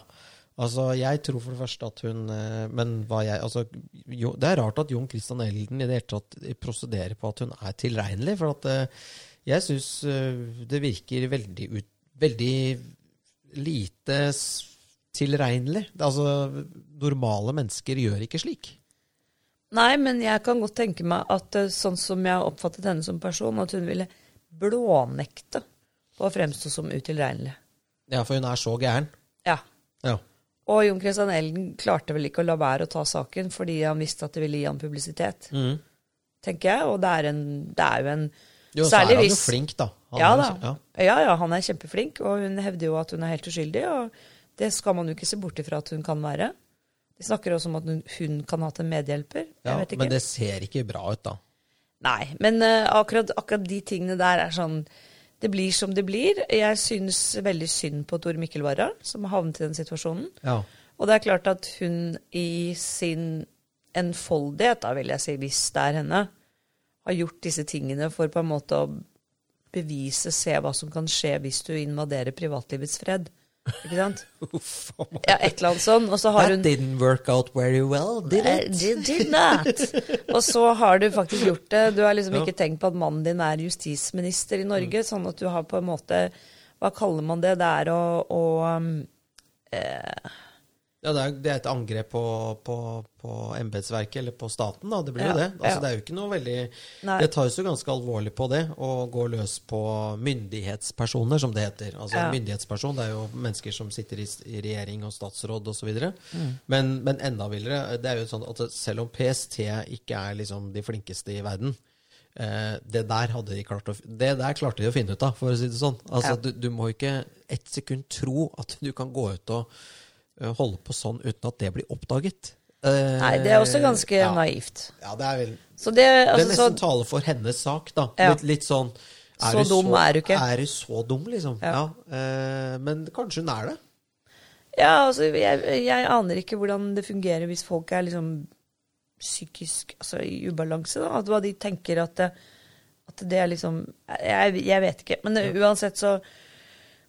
Speaker 1: Altså, jeg tror for det første at hun eh, Men hva jeg Altså, jo, det er rart at Jon Christian Elden i det hele tatt prosederer på at hun er tilregnelig, for at eh, jeg syns det virker veldig ut... Veldig lite s- tilregnelig. Det er Altså, normale mennesker gjør ikke slik.
Speaker 2: Nei, men jeg kan godt tenke meg at eh, sånn som jeg har oppfattet henne som person, at hun ville blånekte å fremstå som utilregnelig.
Speaker 1: Ja, for hun er så gæren.
Speaker 2: Ja.
Speaker 1: Ja.
Speaker 2: Og Jon Christian Elden klarte vel ikke å la være å ta saken fordi han visste at det ville gi ham publisitet,
Speaker 1: Mm.
Speaker 2: tenker jeg. Og det er, en, det er jo en
Speaker 1: Jo, så er han
Speaker 2: Særlig
Speaker 1: jo
Speaker 2: hvis
Speaker 1: flink, da. Han
Speaker 2: ja,
Speaker 1: er jo
Speaker 2: da.
Speaker 1: så-
Speaker 2: Ja.
Speaker 1: Ja.
Speaker 2: ja, han er kjempeflink, og hun hevder jo at hun er helt uskyldig. Og det skal man jo ikke se bort ifra at hun kan være. De snakker også om at hun, hun kan ha hatt en medhjelper. Jeg
Speaker 1: Ja,
Speaker 2: vet ikke.
Speaker 1: men det ser ikke bra ut, da.
Speaker 2: Nei, men eh, akkurat, akkurat de tingene der er sånn Det blir som det blir. Jeg syns veldig synd på Tor Mikkel Wara, som har havnet i den situasjonen.
Speaker 1: Ja.
Speaker 2: Og det er klart at hun i sin enfoldighet, da vil jeg si, hvis det er henne, har gjort disse tingene for på en måte å bevise, se hva som kan skje hvis du invaderer privatlivets fred. Ikke sant?
Speaker 1: [LAUGHS] Uff, a meg.
Speaker 2: Ja, et eller annet sånn. Og så har
Speaker 1: That
Speaker 2: hun
Speaker 1: didn't work out very well, did
Speaker 2: Eh,
Speaker 1: it?
Speaker 2: did, did not. Og så har du faktisk gjort det. Du har liksom ikke tenkt på at mannen din er justisminister i Norge, sånn at du har på en måte Hva kaller man det? Det er å, å um,
Speaker 1: Ja, det er, det er et angrep på, på, på embetsverket, eller på staten, da. Det blir
Speaker 2: Ja,
Speaker 1: jo det. Altså,
Speaker 2: ja.
Speaker 1: Det er jo ikke noe veldig
Speaker 2: Nei.
Speaker 1: Det tas jo ganske alvorlig på det, å gå løs på myndighetspersoner, som det heter. Altså
Speaker 2: Ja.
Speaker 1: en myndighetsperson, det er jo mennesker som sitter i, s- i regjering og statsråd osv. videre
Speaker 2: Mm.
Speaker 1: Men, men enda villere, det er jo sånn at selv om PST ikke er liksom de flinkeste i verden, eh, det der hadde de klart å, f- det der klarte de å finne ut av, for å si det sånn. Altså,
Speaker 2: Ja.
Speaker 1: du, du må ikke ett sekund tro at du kan gå ut og eh, holde på sånn uten at det blir oppdaget. Eh,
Speaker 2: Nei, det er også ganske
Speaker 1: ja.
Speaker 2: naivt.
Speaker 1: Ja, det er vel
Speaker 2: Så det,
Speaker 1: Det er
Speaker 2: altså,
Speaker 1: nesten
Speaker 2: så,
Speaker 1: tale for hennes sak, da.
Speaker 2: Ja.
Speaker 1: Litt, litt sånn
Speaker 2: Så dum er du ikke.
Speaker 1: Er du så dum, liksom? Ja. eh, men kanskje hun er det.
Speaker 2: ja, altså jeg, jeg aner ikke hvordan det fungerer hvis folk er liksom psykisk altså, i ubalanse. Da. At hva de tenker at det, at det er liksom jeg, jeg vet ikke. Men eh, uansett så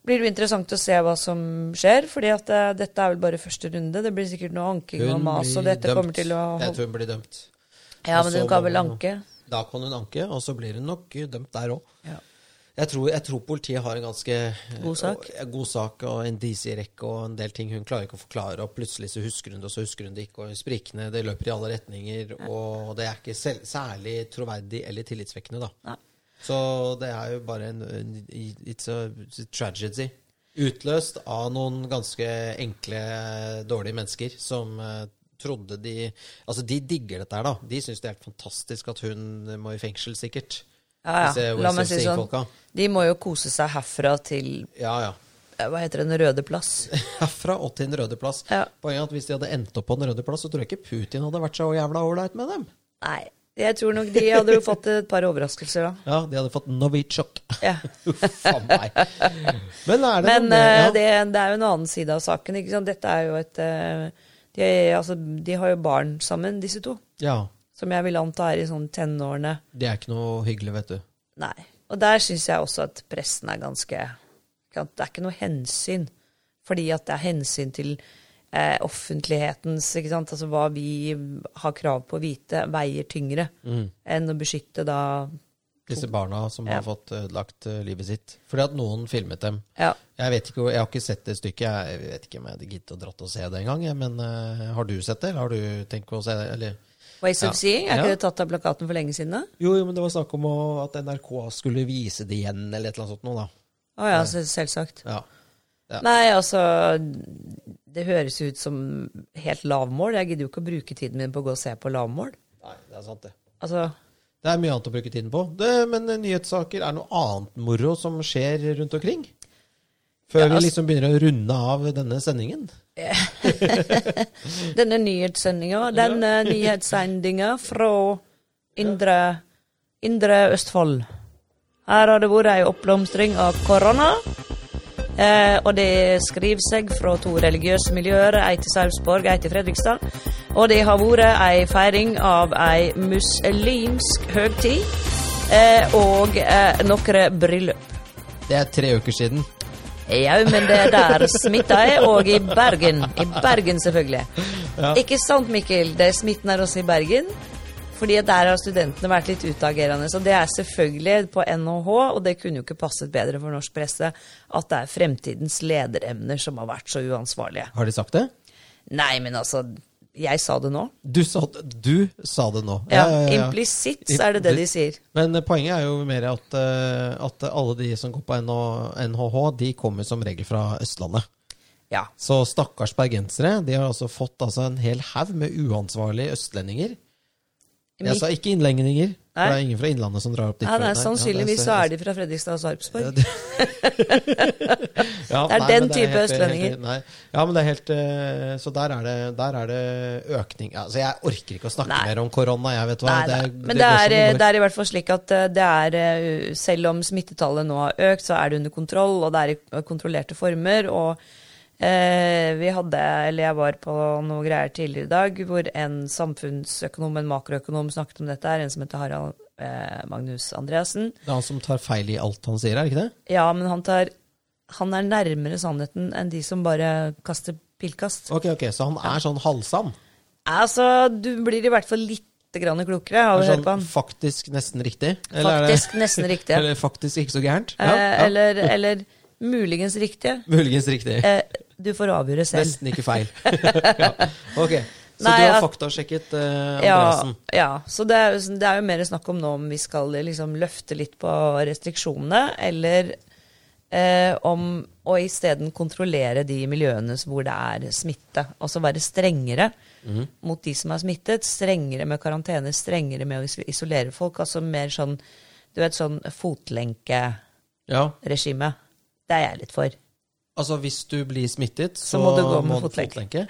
Speaker 2: blir det jo interessant å se hva som skjer. fordi at eh, dette er vel bare første runde. Det blir sikkert noe anking og mas, og dette kommer til å
Speaker 1: Jeg tror hun blir dømt.
Speaker 2: Ja,
Speaker 1: Og
Speaker 2: men
Speaker 1: så
Speaker 2: hun kan
Speaker 1: må
Speaker 2: vel
Speaker 1: man jo-
Speaker 2: anke.
Speaker 1: Da kan hun anke, og så blir hun nok eh, dømt der òg.
Speaker 2: Ja.
Speaker 1: Jeg tror, jeg tror politiet har en ganske eh,
Speaker 2: God sak.
Speaker 1: og- god sak og en DC-rekke og en del ting hun klarer ikke å forklare, og plutselig så husker hun det, og så husker hun det ikke, og sprikende, det løper i alle retninger, og det er ikke selv, særlig troverdig eller tillitsvekkende, da.
Speaker 2: Nei.
Speaker 1: Så det er jo bare en, en It's a tragedy. Utløst av noen ganske enkle, dårlige mennesker som eh, trodde de Altså, de digger dette her, da. De syns det er helt fantastisk at hun må i fengsel, sikkert.
Speaker 2: Ja,
Speaker 1: Disse
Speaker 2: ja. La meg si det sånn.
Speaker 1: WCC-folka.
Speaker 2: De må jo kose seg herfra til
Speaker 1: Ja, ja. [LAUGHS]
Speaker 2: eh, Hva heter det, Den røde plass?
Speaker 1: Herfra og til Den røde plass.
Speaker 2: Ja.
Speaker 1: Poenget er at hvis de hadde endt opp på Den røde plass, så tror jeg ikke Putin hadde vært så jævla ålreit med dem.
Speaker 2: Nei. Jeg tror nok de hadde jo fått et par overraskelser da.
Speaker 1: Ja, De hadde fått Novitsjok.
Speaker 2: Ja.
Speaker 1: [LAUGHS] Uff a meg. Men er det noe
Speaker 2: Men
Speaker 1: med-
Speaker 2: eh,
Speaker 1: ja.
Speaker 2: det, det er jo en annen side av saken. ikke sant? Dette er jo et eh, de, altså, de har jo barn sammen, disse to.
Speaker 1: ja.
Speaker 2: Som jeg vil anta er i sånn tenårene.
Speaker 1: Det er ikke noe hyggelig, vet du.
Speaker 2: Nei. Og der syns jeg også at pressen er ganske ikke sant? Det er ikke noe hensyn. Fordi at det er hensyn til eh, offentlighetens ikke sant? Altså hva vi har krav på å vite, veier tyngre enn å beskytte da
Speaker 1: Disse barna som har
Speaker 2: Ja.
Speaker 1: fått ødelagt eh, livet sitt. Fordi at noen filmet dem.
Speaker 2: Ja.
Speaker 1: Jeg vet ikke, hvor- jeg har ikke sett det stykket. Jeg jeg vet ikke om jeg hadde giddet å dratt og se det engang. jeg, Men eh, har du sett det? Eller har du tenkt å se det? Eller?
Speaker 2: Ways
Speaker 1: Ja.
Speaker 2: of Seeing. Er
Speaker 1: Ja.
Speaker 2: ikke det tatt av plakaten for lenge siden? da?
Speaker 1: Jo, jo, men det var snakk om å- at NRK skulle vise det igjen, eller et eller annet sånt noe, da.
Speaker 2: Å ja, se- selvsagt.
Speaker 1: Ja. Ja.
Speaker 2: Nei, altså Det høres ut som helt lavmål. Jeg gidder jo ikke å bruke tiden min på å gå og se på lavmål.
Speaker 1: Nei, det er sant, det.
Speaker 2: Altså,
Speaker 1: Det er mye annet å bruke tiden på. Det, men eh, nyhetssaker er noe annet moro som skjer rundt omkring. Før
Speaker 2: Ja, altså-
Speaker 1: vi liksom begynner å runde av denne sendingen.
Speaker 2: denne nyhetssendinga, denne nyhetssendinga fra indre, indre Østfold. Her har det vært ei oppblomstring av korona. Eh, og det skriver seg fra to religiøse miljøer, ei til Sarpsborg, ei til Fredrikstad. Og det har vært ei feiring av ei muslimsk høgtid eh, og eh, nokre bryllup.
Speaker 1: Det er tre uker siden.
Speaker 2: Ja, men det er der smitta er, og i Bergen. I Bergen, selvfølgelig. Ikke sant, Mikkel? Det er smitten er også i Bergen. Fordi at der har studentene vært litt utagerende. Så det er selvfølgelig på NHH, og det kunne jo ikke passet bedre for norsk presse, at det er fremtidens lederemner som har vært så uansvarlige.
Speaker 1: Har de sagt det?
Speaker 2: Nei, men altså, jeg sa det nå.
Speaker 1: Du sa, du sa det nå.
Speaker 2: Ja, Implisitt så er det det de sier.
Speaker 1: Men eh, poenget er jo mer at, eh, at alle de som går på NH NHH, de kommer som regel fra Østlandet.
Speaker 2: Ja.
Speaker 1: Så stakkars bergensere, de har altså fått altså en hel haug med uansvarlige østlendinger. Jeg sa ikke innlendinger, for det er ingen fra Innlandet som drar opp dit.
Speaker 2: Ja, nei, sannsynligvis så er de fra Fredrikstad og Sarpsborg. Det er den type østlendinger.
Speaker 1: Nei. Ja, men det er helt eh, Så der er det, der er det økning. Altså, jeg orker ikke å snakke
Speaker 2: Nei.
Speaker 1: mer om korona, jeg, vet du hva.
Speaker 2: Nei, nei. Men det
Speaker 1: går som
Speaker 2: er, eh,
Speaker 1: det går.
Speaker 2: det er i hvert fall slik at eh, det er eh, Selv om smittetallet nå har økt, så er det under kontroll, og det er i eh, kontrollerte former. Og eh, vi hadde, eller jeg var på noe greier tidligere i dag hvor en samfunnsøkonom, en makroøkonom, snakket om dette her. En som heter Harald eh, Magnus Andreassen.
Speaker 1: Det er han som tar feil i alt han sier, er det ikke det?
Speaker 2: Ja, men han tar Han er nærmere sannheten enn de som bare kaster pilkast.
Speaker 1: Ok, ok, Så han er sånn halvsann.
Speaker 2: Altså, du blir i hvert fall litt grann klokere av å
Speaker 1: Er
Speaker 2: høre på
Speaker 1: Sånn
Speaker 2: han.
Speaker 1: faktisk nesten riktig. er det-
Speaker 2: Faktisk nesten riktig.
Speaker 1: [LAUGHS] Eller faktisk ikke så gærent. Ja,
Speaker 2: Eh,
Speaker 1: ja.
Speaker 2: Eller, eller muligens riktige.
Speaker 1: Muligens riktig.
Speaker 2: Eh, du får avgjøre selv.
Speaker 1: Nesten ikke
Speaker 2: [LAUGHS]
Speaker 1: feil. ja. Ok, Så
Speaker 2: Nei,
Speaker 1: du har
Speaker 2: at-
Speaker 1: faktasjekket eh,
Speaker 2: Ja,
Speaker 1: Andreassen.
Speaker 2: ja, så det er, jo sånn- det er jo mer snakk om nå om vi skal liksom løfte litt på restriksjonene, eller eh, om å isteden kontrollere de miljøene som- hvor det er smitte. Altså være strengere
Speaker 1: Mhm.
Speaker 2: mot de som er smittet, strengere med karantene, strengere med å is- isolere folk. Altså mer sånn, du vet, sånn fotlenkeregime.
Speaker 1: Ja.
Speaker 2: Det er jeg litt for.
Speaker 1: Altså hvis du blir smittet, så,
Speaker 2: må du gå med fotlenke.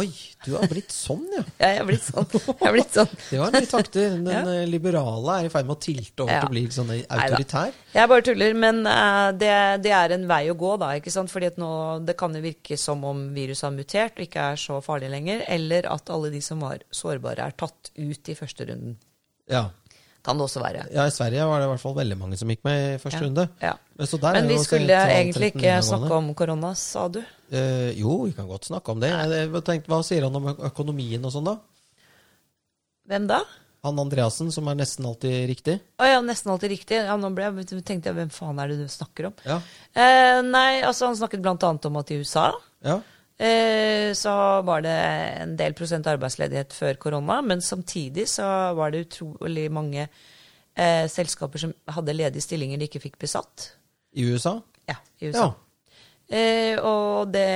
Speaker 1: Oi, du har blitt sånn, ja.
Speaker 2: Ja, jeg er blitt sånn. Jeg er blitt sånn.
Speaker 1: Det
Speaker 2: [LAUGHS]
Speaker 1: var mye takter. Den eh, liberale er i ferd med å tilte over
Speaker 2: Ja.
Speaker 1: til å bli litt sånn
Speaker 2: Neida.
Speaker 1: autoritær.
Speaker 2: Jeg bare tuller, men eh, det, det er en vei å gå, da. ikke sant? Fordi at nå, Det kan jo virke som om viruset har mutert og ikke er så farlig lenger. Eller at alle de som var sårbare, er tatt ut i første runden.
Speaker 1: Ja.
Speaker 2: Kan det også være.
Speaker 1: ja, i Sverige var det i hvert fall veldig mange som gikk med i første
Speaker 2: Ja.
Speaker 1: runde.
Speaker 2: Ja.
Speaker 1: Men, så der er
Speaker 2: Men vi
Speaker 1: jo
Speaker 2: skulle
Speaker 1: til- til
Speaker 2: egentlig
Speaker 1: 13
Speaker 2: ikke
Speaker 1: videregående.
Speaker 2: snakke om korona, sa du.
Speaker 1: Eh, jo, vi kan godt snakke om det. Jeg tenkte, hva sier han om ø- økonomien og sånn, da?
Speaker 2: Hvem da?
Speaker 1: Han Andreassen, som er nesten alltid riktig?
Speaker 2: Å ja, nesten alltid riktig. Ja, nå ble jeg, tenkte jeg, hvem faen er det du snakker om?
Speaker 1: Ja.
Speaker 2: Eh, nei, altså han snakket blant annet om at i USA
Speaker 1: ja.
Speaker 2: eh, så var det en del prosent arbeidsledighet før korona, men samtidig så var det utrolig mange eh, selskaper som hadde ledige stillinger de ikke fikk besatt.
Speaker 1: I USA?
Speaker 2: Ja, i USA.
Speaker 1: Ja.
Speaker 2: Eh, og det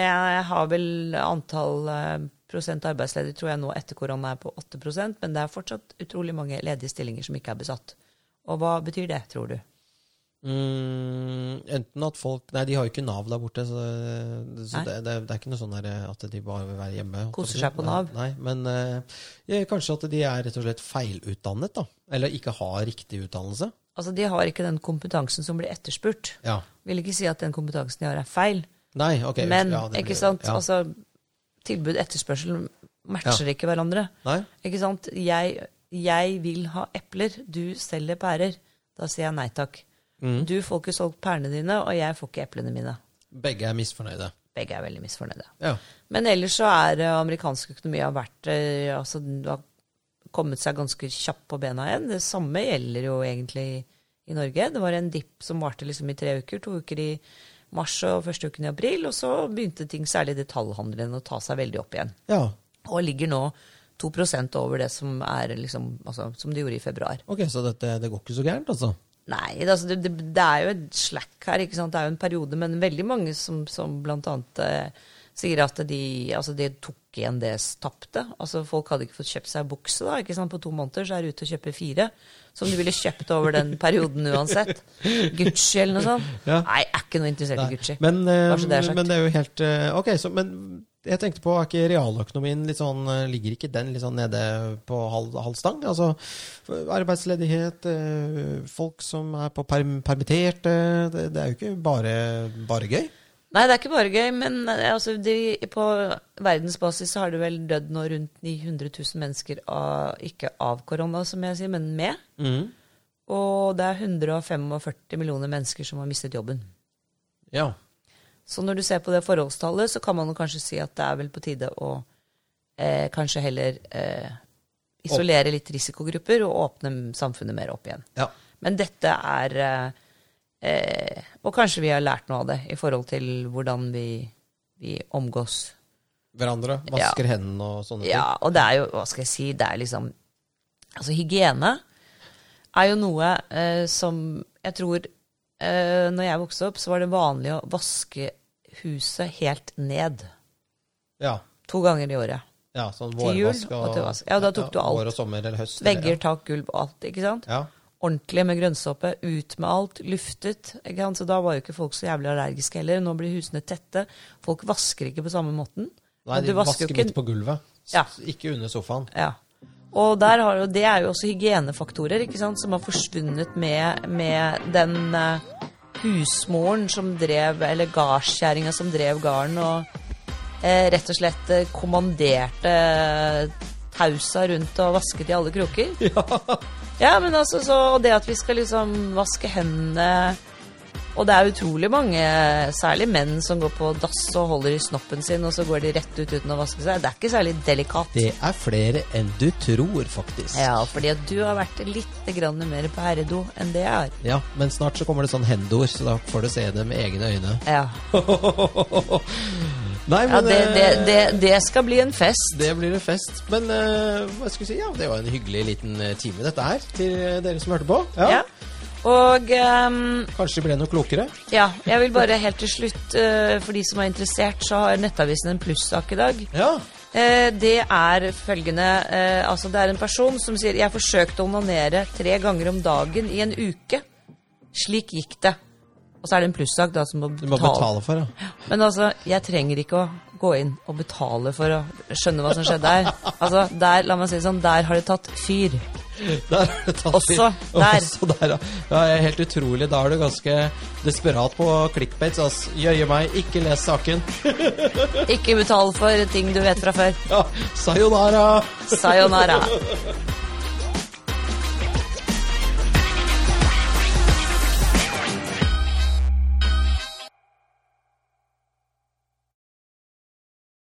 Speaker 2: har vel antall eh, prosent arbeidsledige, tror jeg nå etter korona er på 8 men det er fortsatt utrolig mange ledige stillinger som ikke er besatt. Og hva betyr det, tror du?
Speaker 1: Mm, enten at folk Nei, de har jo ikke Nav der borte, så, så
Speaker 2: Nei.
Speaker 1: det, det, det er ikke noe sånn der at de bare vil være hjemme. holdt jeg på å
Speaker 2: Koser
Speaker 1: si.
Speaker 2: seg på Nav.
Speaker 1: Nei, nei, men eh, ja, kanskje at de er rett og slett feilutdannet, da. Eller ikke har riktig utdannelse.
Speaker 2: Altså, De har ikke den kompetansen som blir etterspurt.
Speaker 1: Ja.
Speaker 2: Vil ikke si at den kompetansen de har, er feil,
Speaker 1: Nei, ok.
Speaker 2: men
Speaker 1: ja, det blir-
Speaker 2: ikke sant?
Speaker 1: Ja.
Speaker 2: Altså, tilbud og etterspørsel matcher ikke hverandre.
Speaker 1: Nei?
Speaker 2: Ikke sant? Jeg, jeg vil ha epler, du selger pærer. Da sier jeg nei takk.
Speaker 1: Mm.
Speaker 2: Du får ikke solgt pærene dine, og jeg får ikke eplene mine.
Speaker 1: Begge er misfornøyde.
Speaker 2: Begge er veldig misfornøyde.
Speaker 1: Ja.
Speaker 2: Men ellers så er eh, amerikansk økonomi har vært eh, altså, den har kommet seg ganske kjapt på bena igjen. Det samme gjelder jo egentlig i Norge. Det var en dipp som varte liksom i tre uker. To uker i mars og første uken i april. Og så begynte ting, særlig detaljhandelen, å ta seg veldig opp igjen.
Speaker 1: ja.
Speaker 2: Og ligger nå 2 over det som, er liksom, altså, som det gjorde i februar.
Speaker 1: Ok, så dette, det går ikke så gærent, altså?
Speaker 2: Nei, det, altså, det, det, det er jo et slack her, ikke sant? det er jo en periode, men veldig mange som, som blant annet eh, sier at de, altså, de tok igjen det s- tapte. Altså, folk hadde ikke fått kjøpt seg bukse da, ikke sant? på to måneder, så er de ute og kjøper fire, som de ville kjøpt over den perioden uansett. Gucci eller noe sånt.
Speaker 1: Ja.
Speaker 2: Nei, jeg er ikke noe interessert
Speaker 1: Nei,
Speaker 2: i Gucci.
Speaker 1: Men,
Speaker 2: Bare så det er
Speaker 1: eh,
Speaker 2: sagt.
Speaker 1: men det er jo helt eh, Ok, så, men jeg tenkte på, er ikke realøkonomien litt sånn eh, Ligger ikke den litt sånn nede på halv, halv stang? Altså f- arbeidsledighet, eh, folk som er på perm, permittert eh, det, det er jo ikke bare, bare gøy.
Speaker 2: Nei, det er ikke bare gøy, men eh, altså, de, på verdensbasis så har det vel dødd nå rundt 900 000 mennesker, av, ikke av korona, som jeg sier, men med. Og det er 145 millioner mennesker som har mistet jobben.
Speaker 1: Ja.
Speaker 2: Så når du ser på det forholdstallet, så kan man jo kanskje si at det er vel på tide å eh, kanskje heller eh, isolere litt risikogrupper og åpne samfunnet mer opp igjen.
Speaker 1: ja.
Speaker 2: Men dette er eh, eh, Og kanskje vi har lært noe av det i forhold til hvordan vi, vi omgås.
Speaker 1: Hverandre. Vasker hendene og sånne ting.
Speaker 2: Ja, og det er jo, hva skal jeg si, det er liksom Altså, hygiene er jo noe eh, som jeg tror eh, Når jeg vokste opp, så var det vanlig å vaske huset helt ned.
Speaker 1: Ja.
Speaker 2: To ganger i året.
Speaker 1: ja sånn
Speaker 2: Til jul
Speaker 1: vårvask og,
Speaker 2: og til vask. Ja, da tok du alt.
Speaker 1: Vår og sommer eller høst. eller-
Speaker 2: Vegger, tak, gulv, alt, ikke sant?
Speaker 1: Ja.
Speaker 2: Ordentlig med grønnsåpe, ut med alt, luftet. ikke sant? Så da var jo ikke folk så jævlig allergiske heller. Nå blir husene tette. Folk vasker ikke på samme måten.
Speaker 1: Nei,
Speaker 2: Men
Speaker 1: de
Speaker 2: du
Speaker 1: vasker,
Speaker 2: jo
Speaker 1: midt på gulvet. S-
Speaker 2: Ja.
Speaker 1: Ikke under sofaen.
Speaker 2: Ja. Og der har jo, det er jo også hygienefaktorer ikke sant, som har forsvunnet med, med den eh, husmoren som drev, eller gardskjæringa som drev garden, og eh, rett og slett eh, kommanderte eh, tausa rundt og vasket i alle kroker. Ja. men altså, så, Og det at vi skal liksom vaske hendene og det er utrolig mange, særlig menn, som går på dass og holder i snoppen sin, og så går de rett ut uten å vaske seg. Det er ikke særlig delikat.
Speaker 1: Det er flere enn du tror, faktisk.
Speaker 2: Ja, fordi at du har vært litt grann mer på herredo enn det jeg har.
Speaker 1: Ja, men snart så kommer det sånn hendord, så da får du se det med egne øyne. [LAUGHS]
Speaker 2: Ja,
Speaker 1: Nei, men
Speaker 2: ja det, det,
Speaker 1: eh,
Speaker 2: det, det skal bli en fest.
Speaker 1: det blir en fest. Men eh, hva skal vi si, ja, det var en hyggelig liten eh, time dette her, til eh, dere som hørte på.
Speaker 2: Ja. Og ehm,
Speaker 1: Kanskje ble noe klokere.
Speaker 2: ja, jeg vil bare helt til slutt, eh, for de som er interessert, så har Nettavisen en plussak i dag.
Speaker 1: Ja.
Speaker 2: Eh, det er følgende eh, Altså, det er en person som sier 'Jeg forsøkte å onanere tre ganger om dagen i en uke'. Slik gikk det. Og Og så er det en plussak da som må
Speaker 1: Du må
Speaker 2: betale.
Speaker 1: betale for det. [LAUGHS]
Speaker 2: Men altså, jeg trenger ikke å gå inn og betale for å skjønne hva som skjedde her. Altså, der, la meg si det sånn, der har det tatt fyr.
Speaker 1: Der har du tatt
Speaker 2: Også
Speaker 1: i- [LAUGHS]
Speaker 2: der.
Speaker 1: Også der, ja. ja. det er Helt utrolig. Da er du ganske desperat på clickbaits. Altså. Jøye meg, ikke les saken.
Speaker 2: Ikke betal for ting du vet fra før.
Speaker 1: Ja, sayonara!
Speaker 2: Sayonara.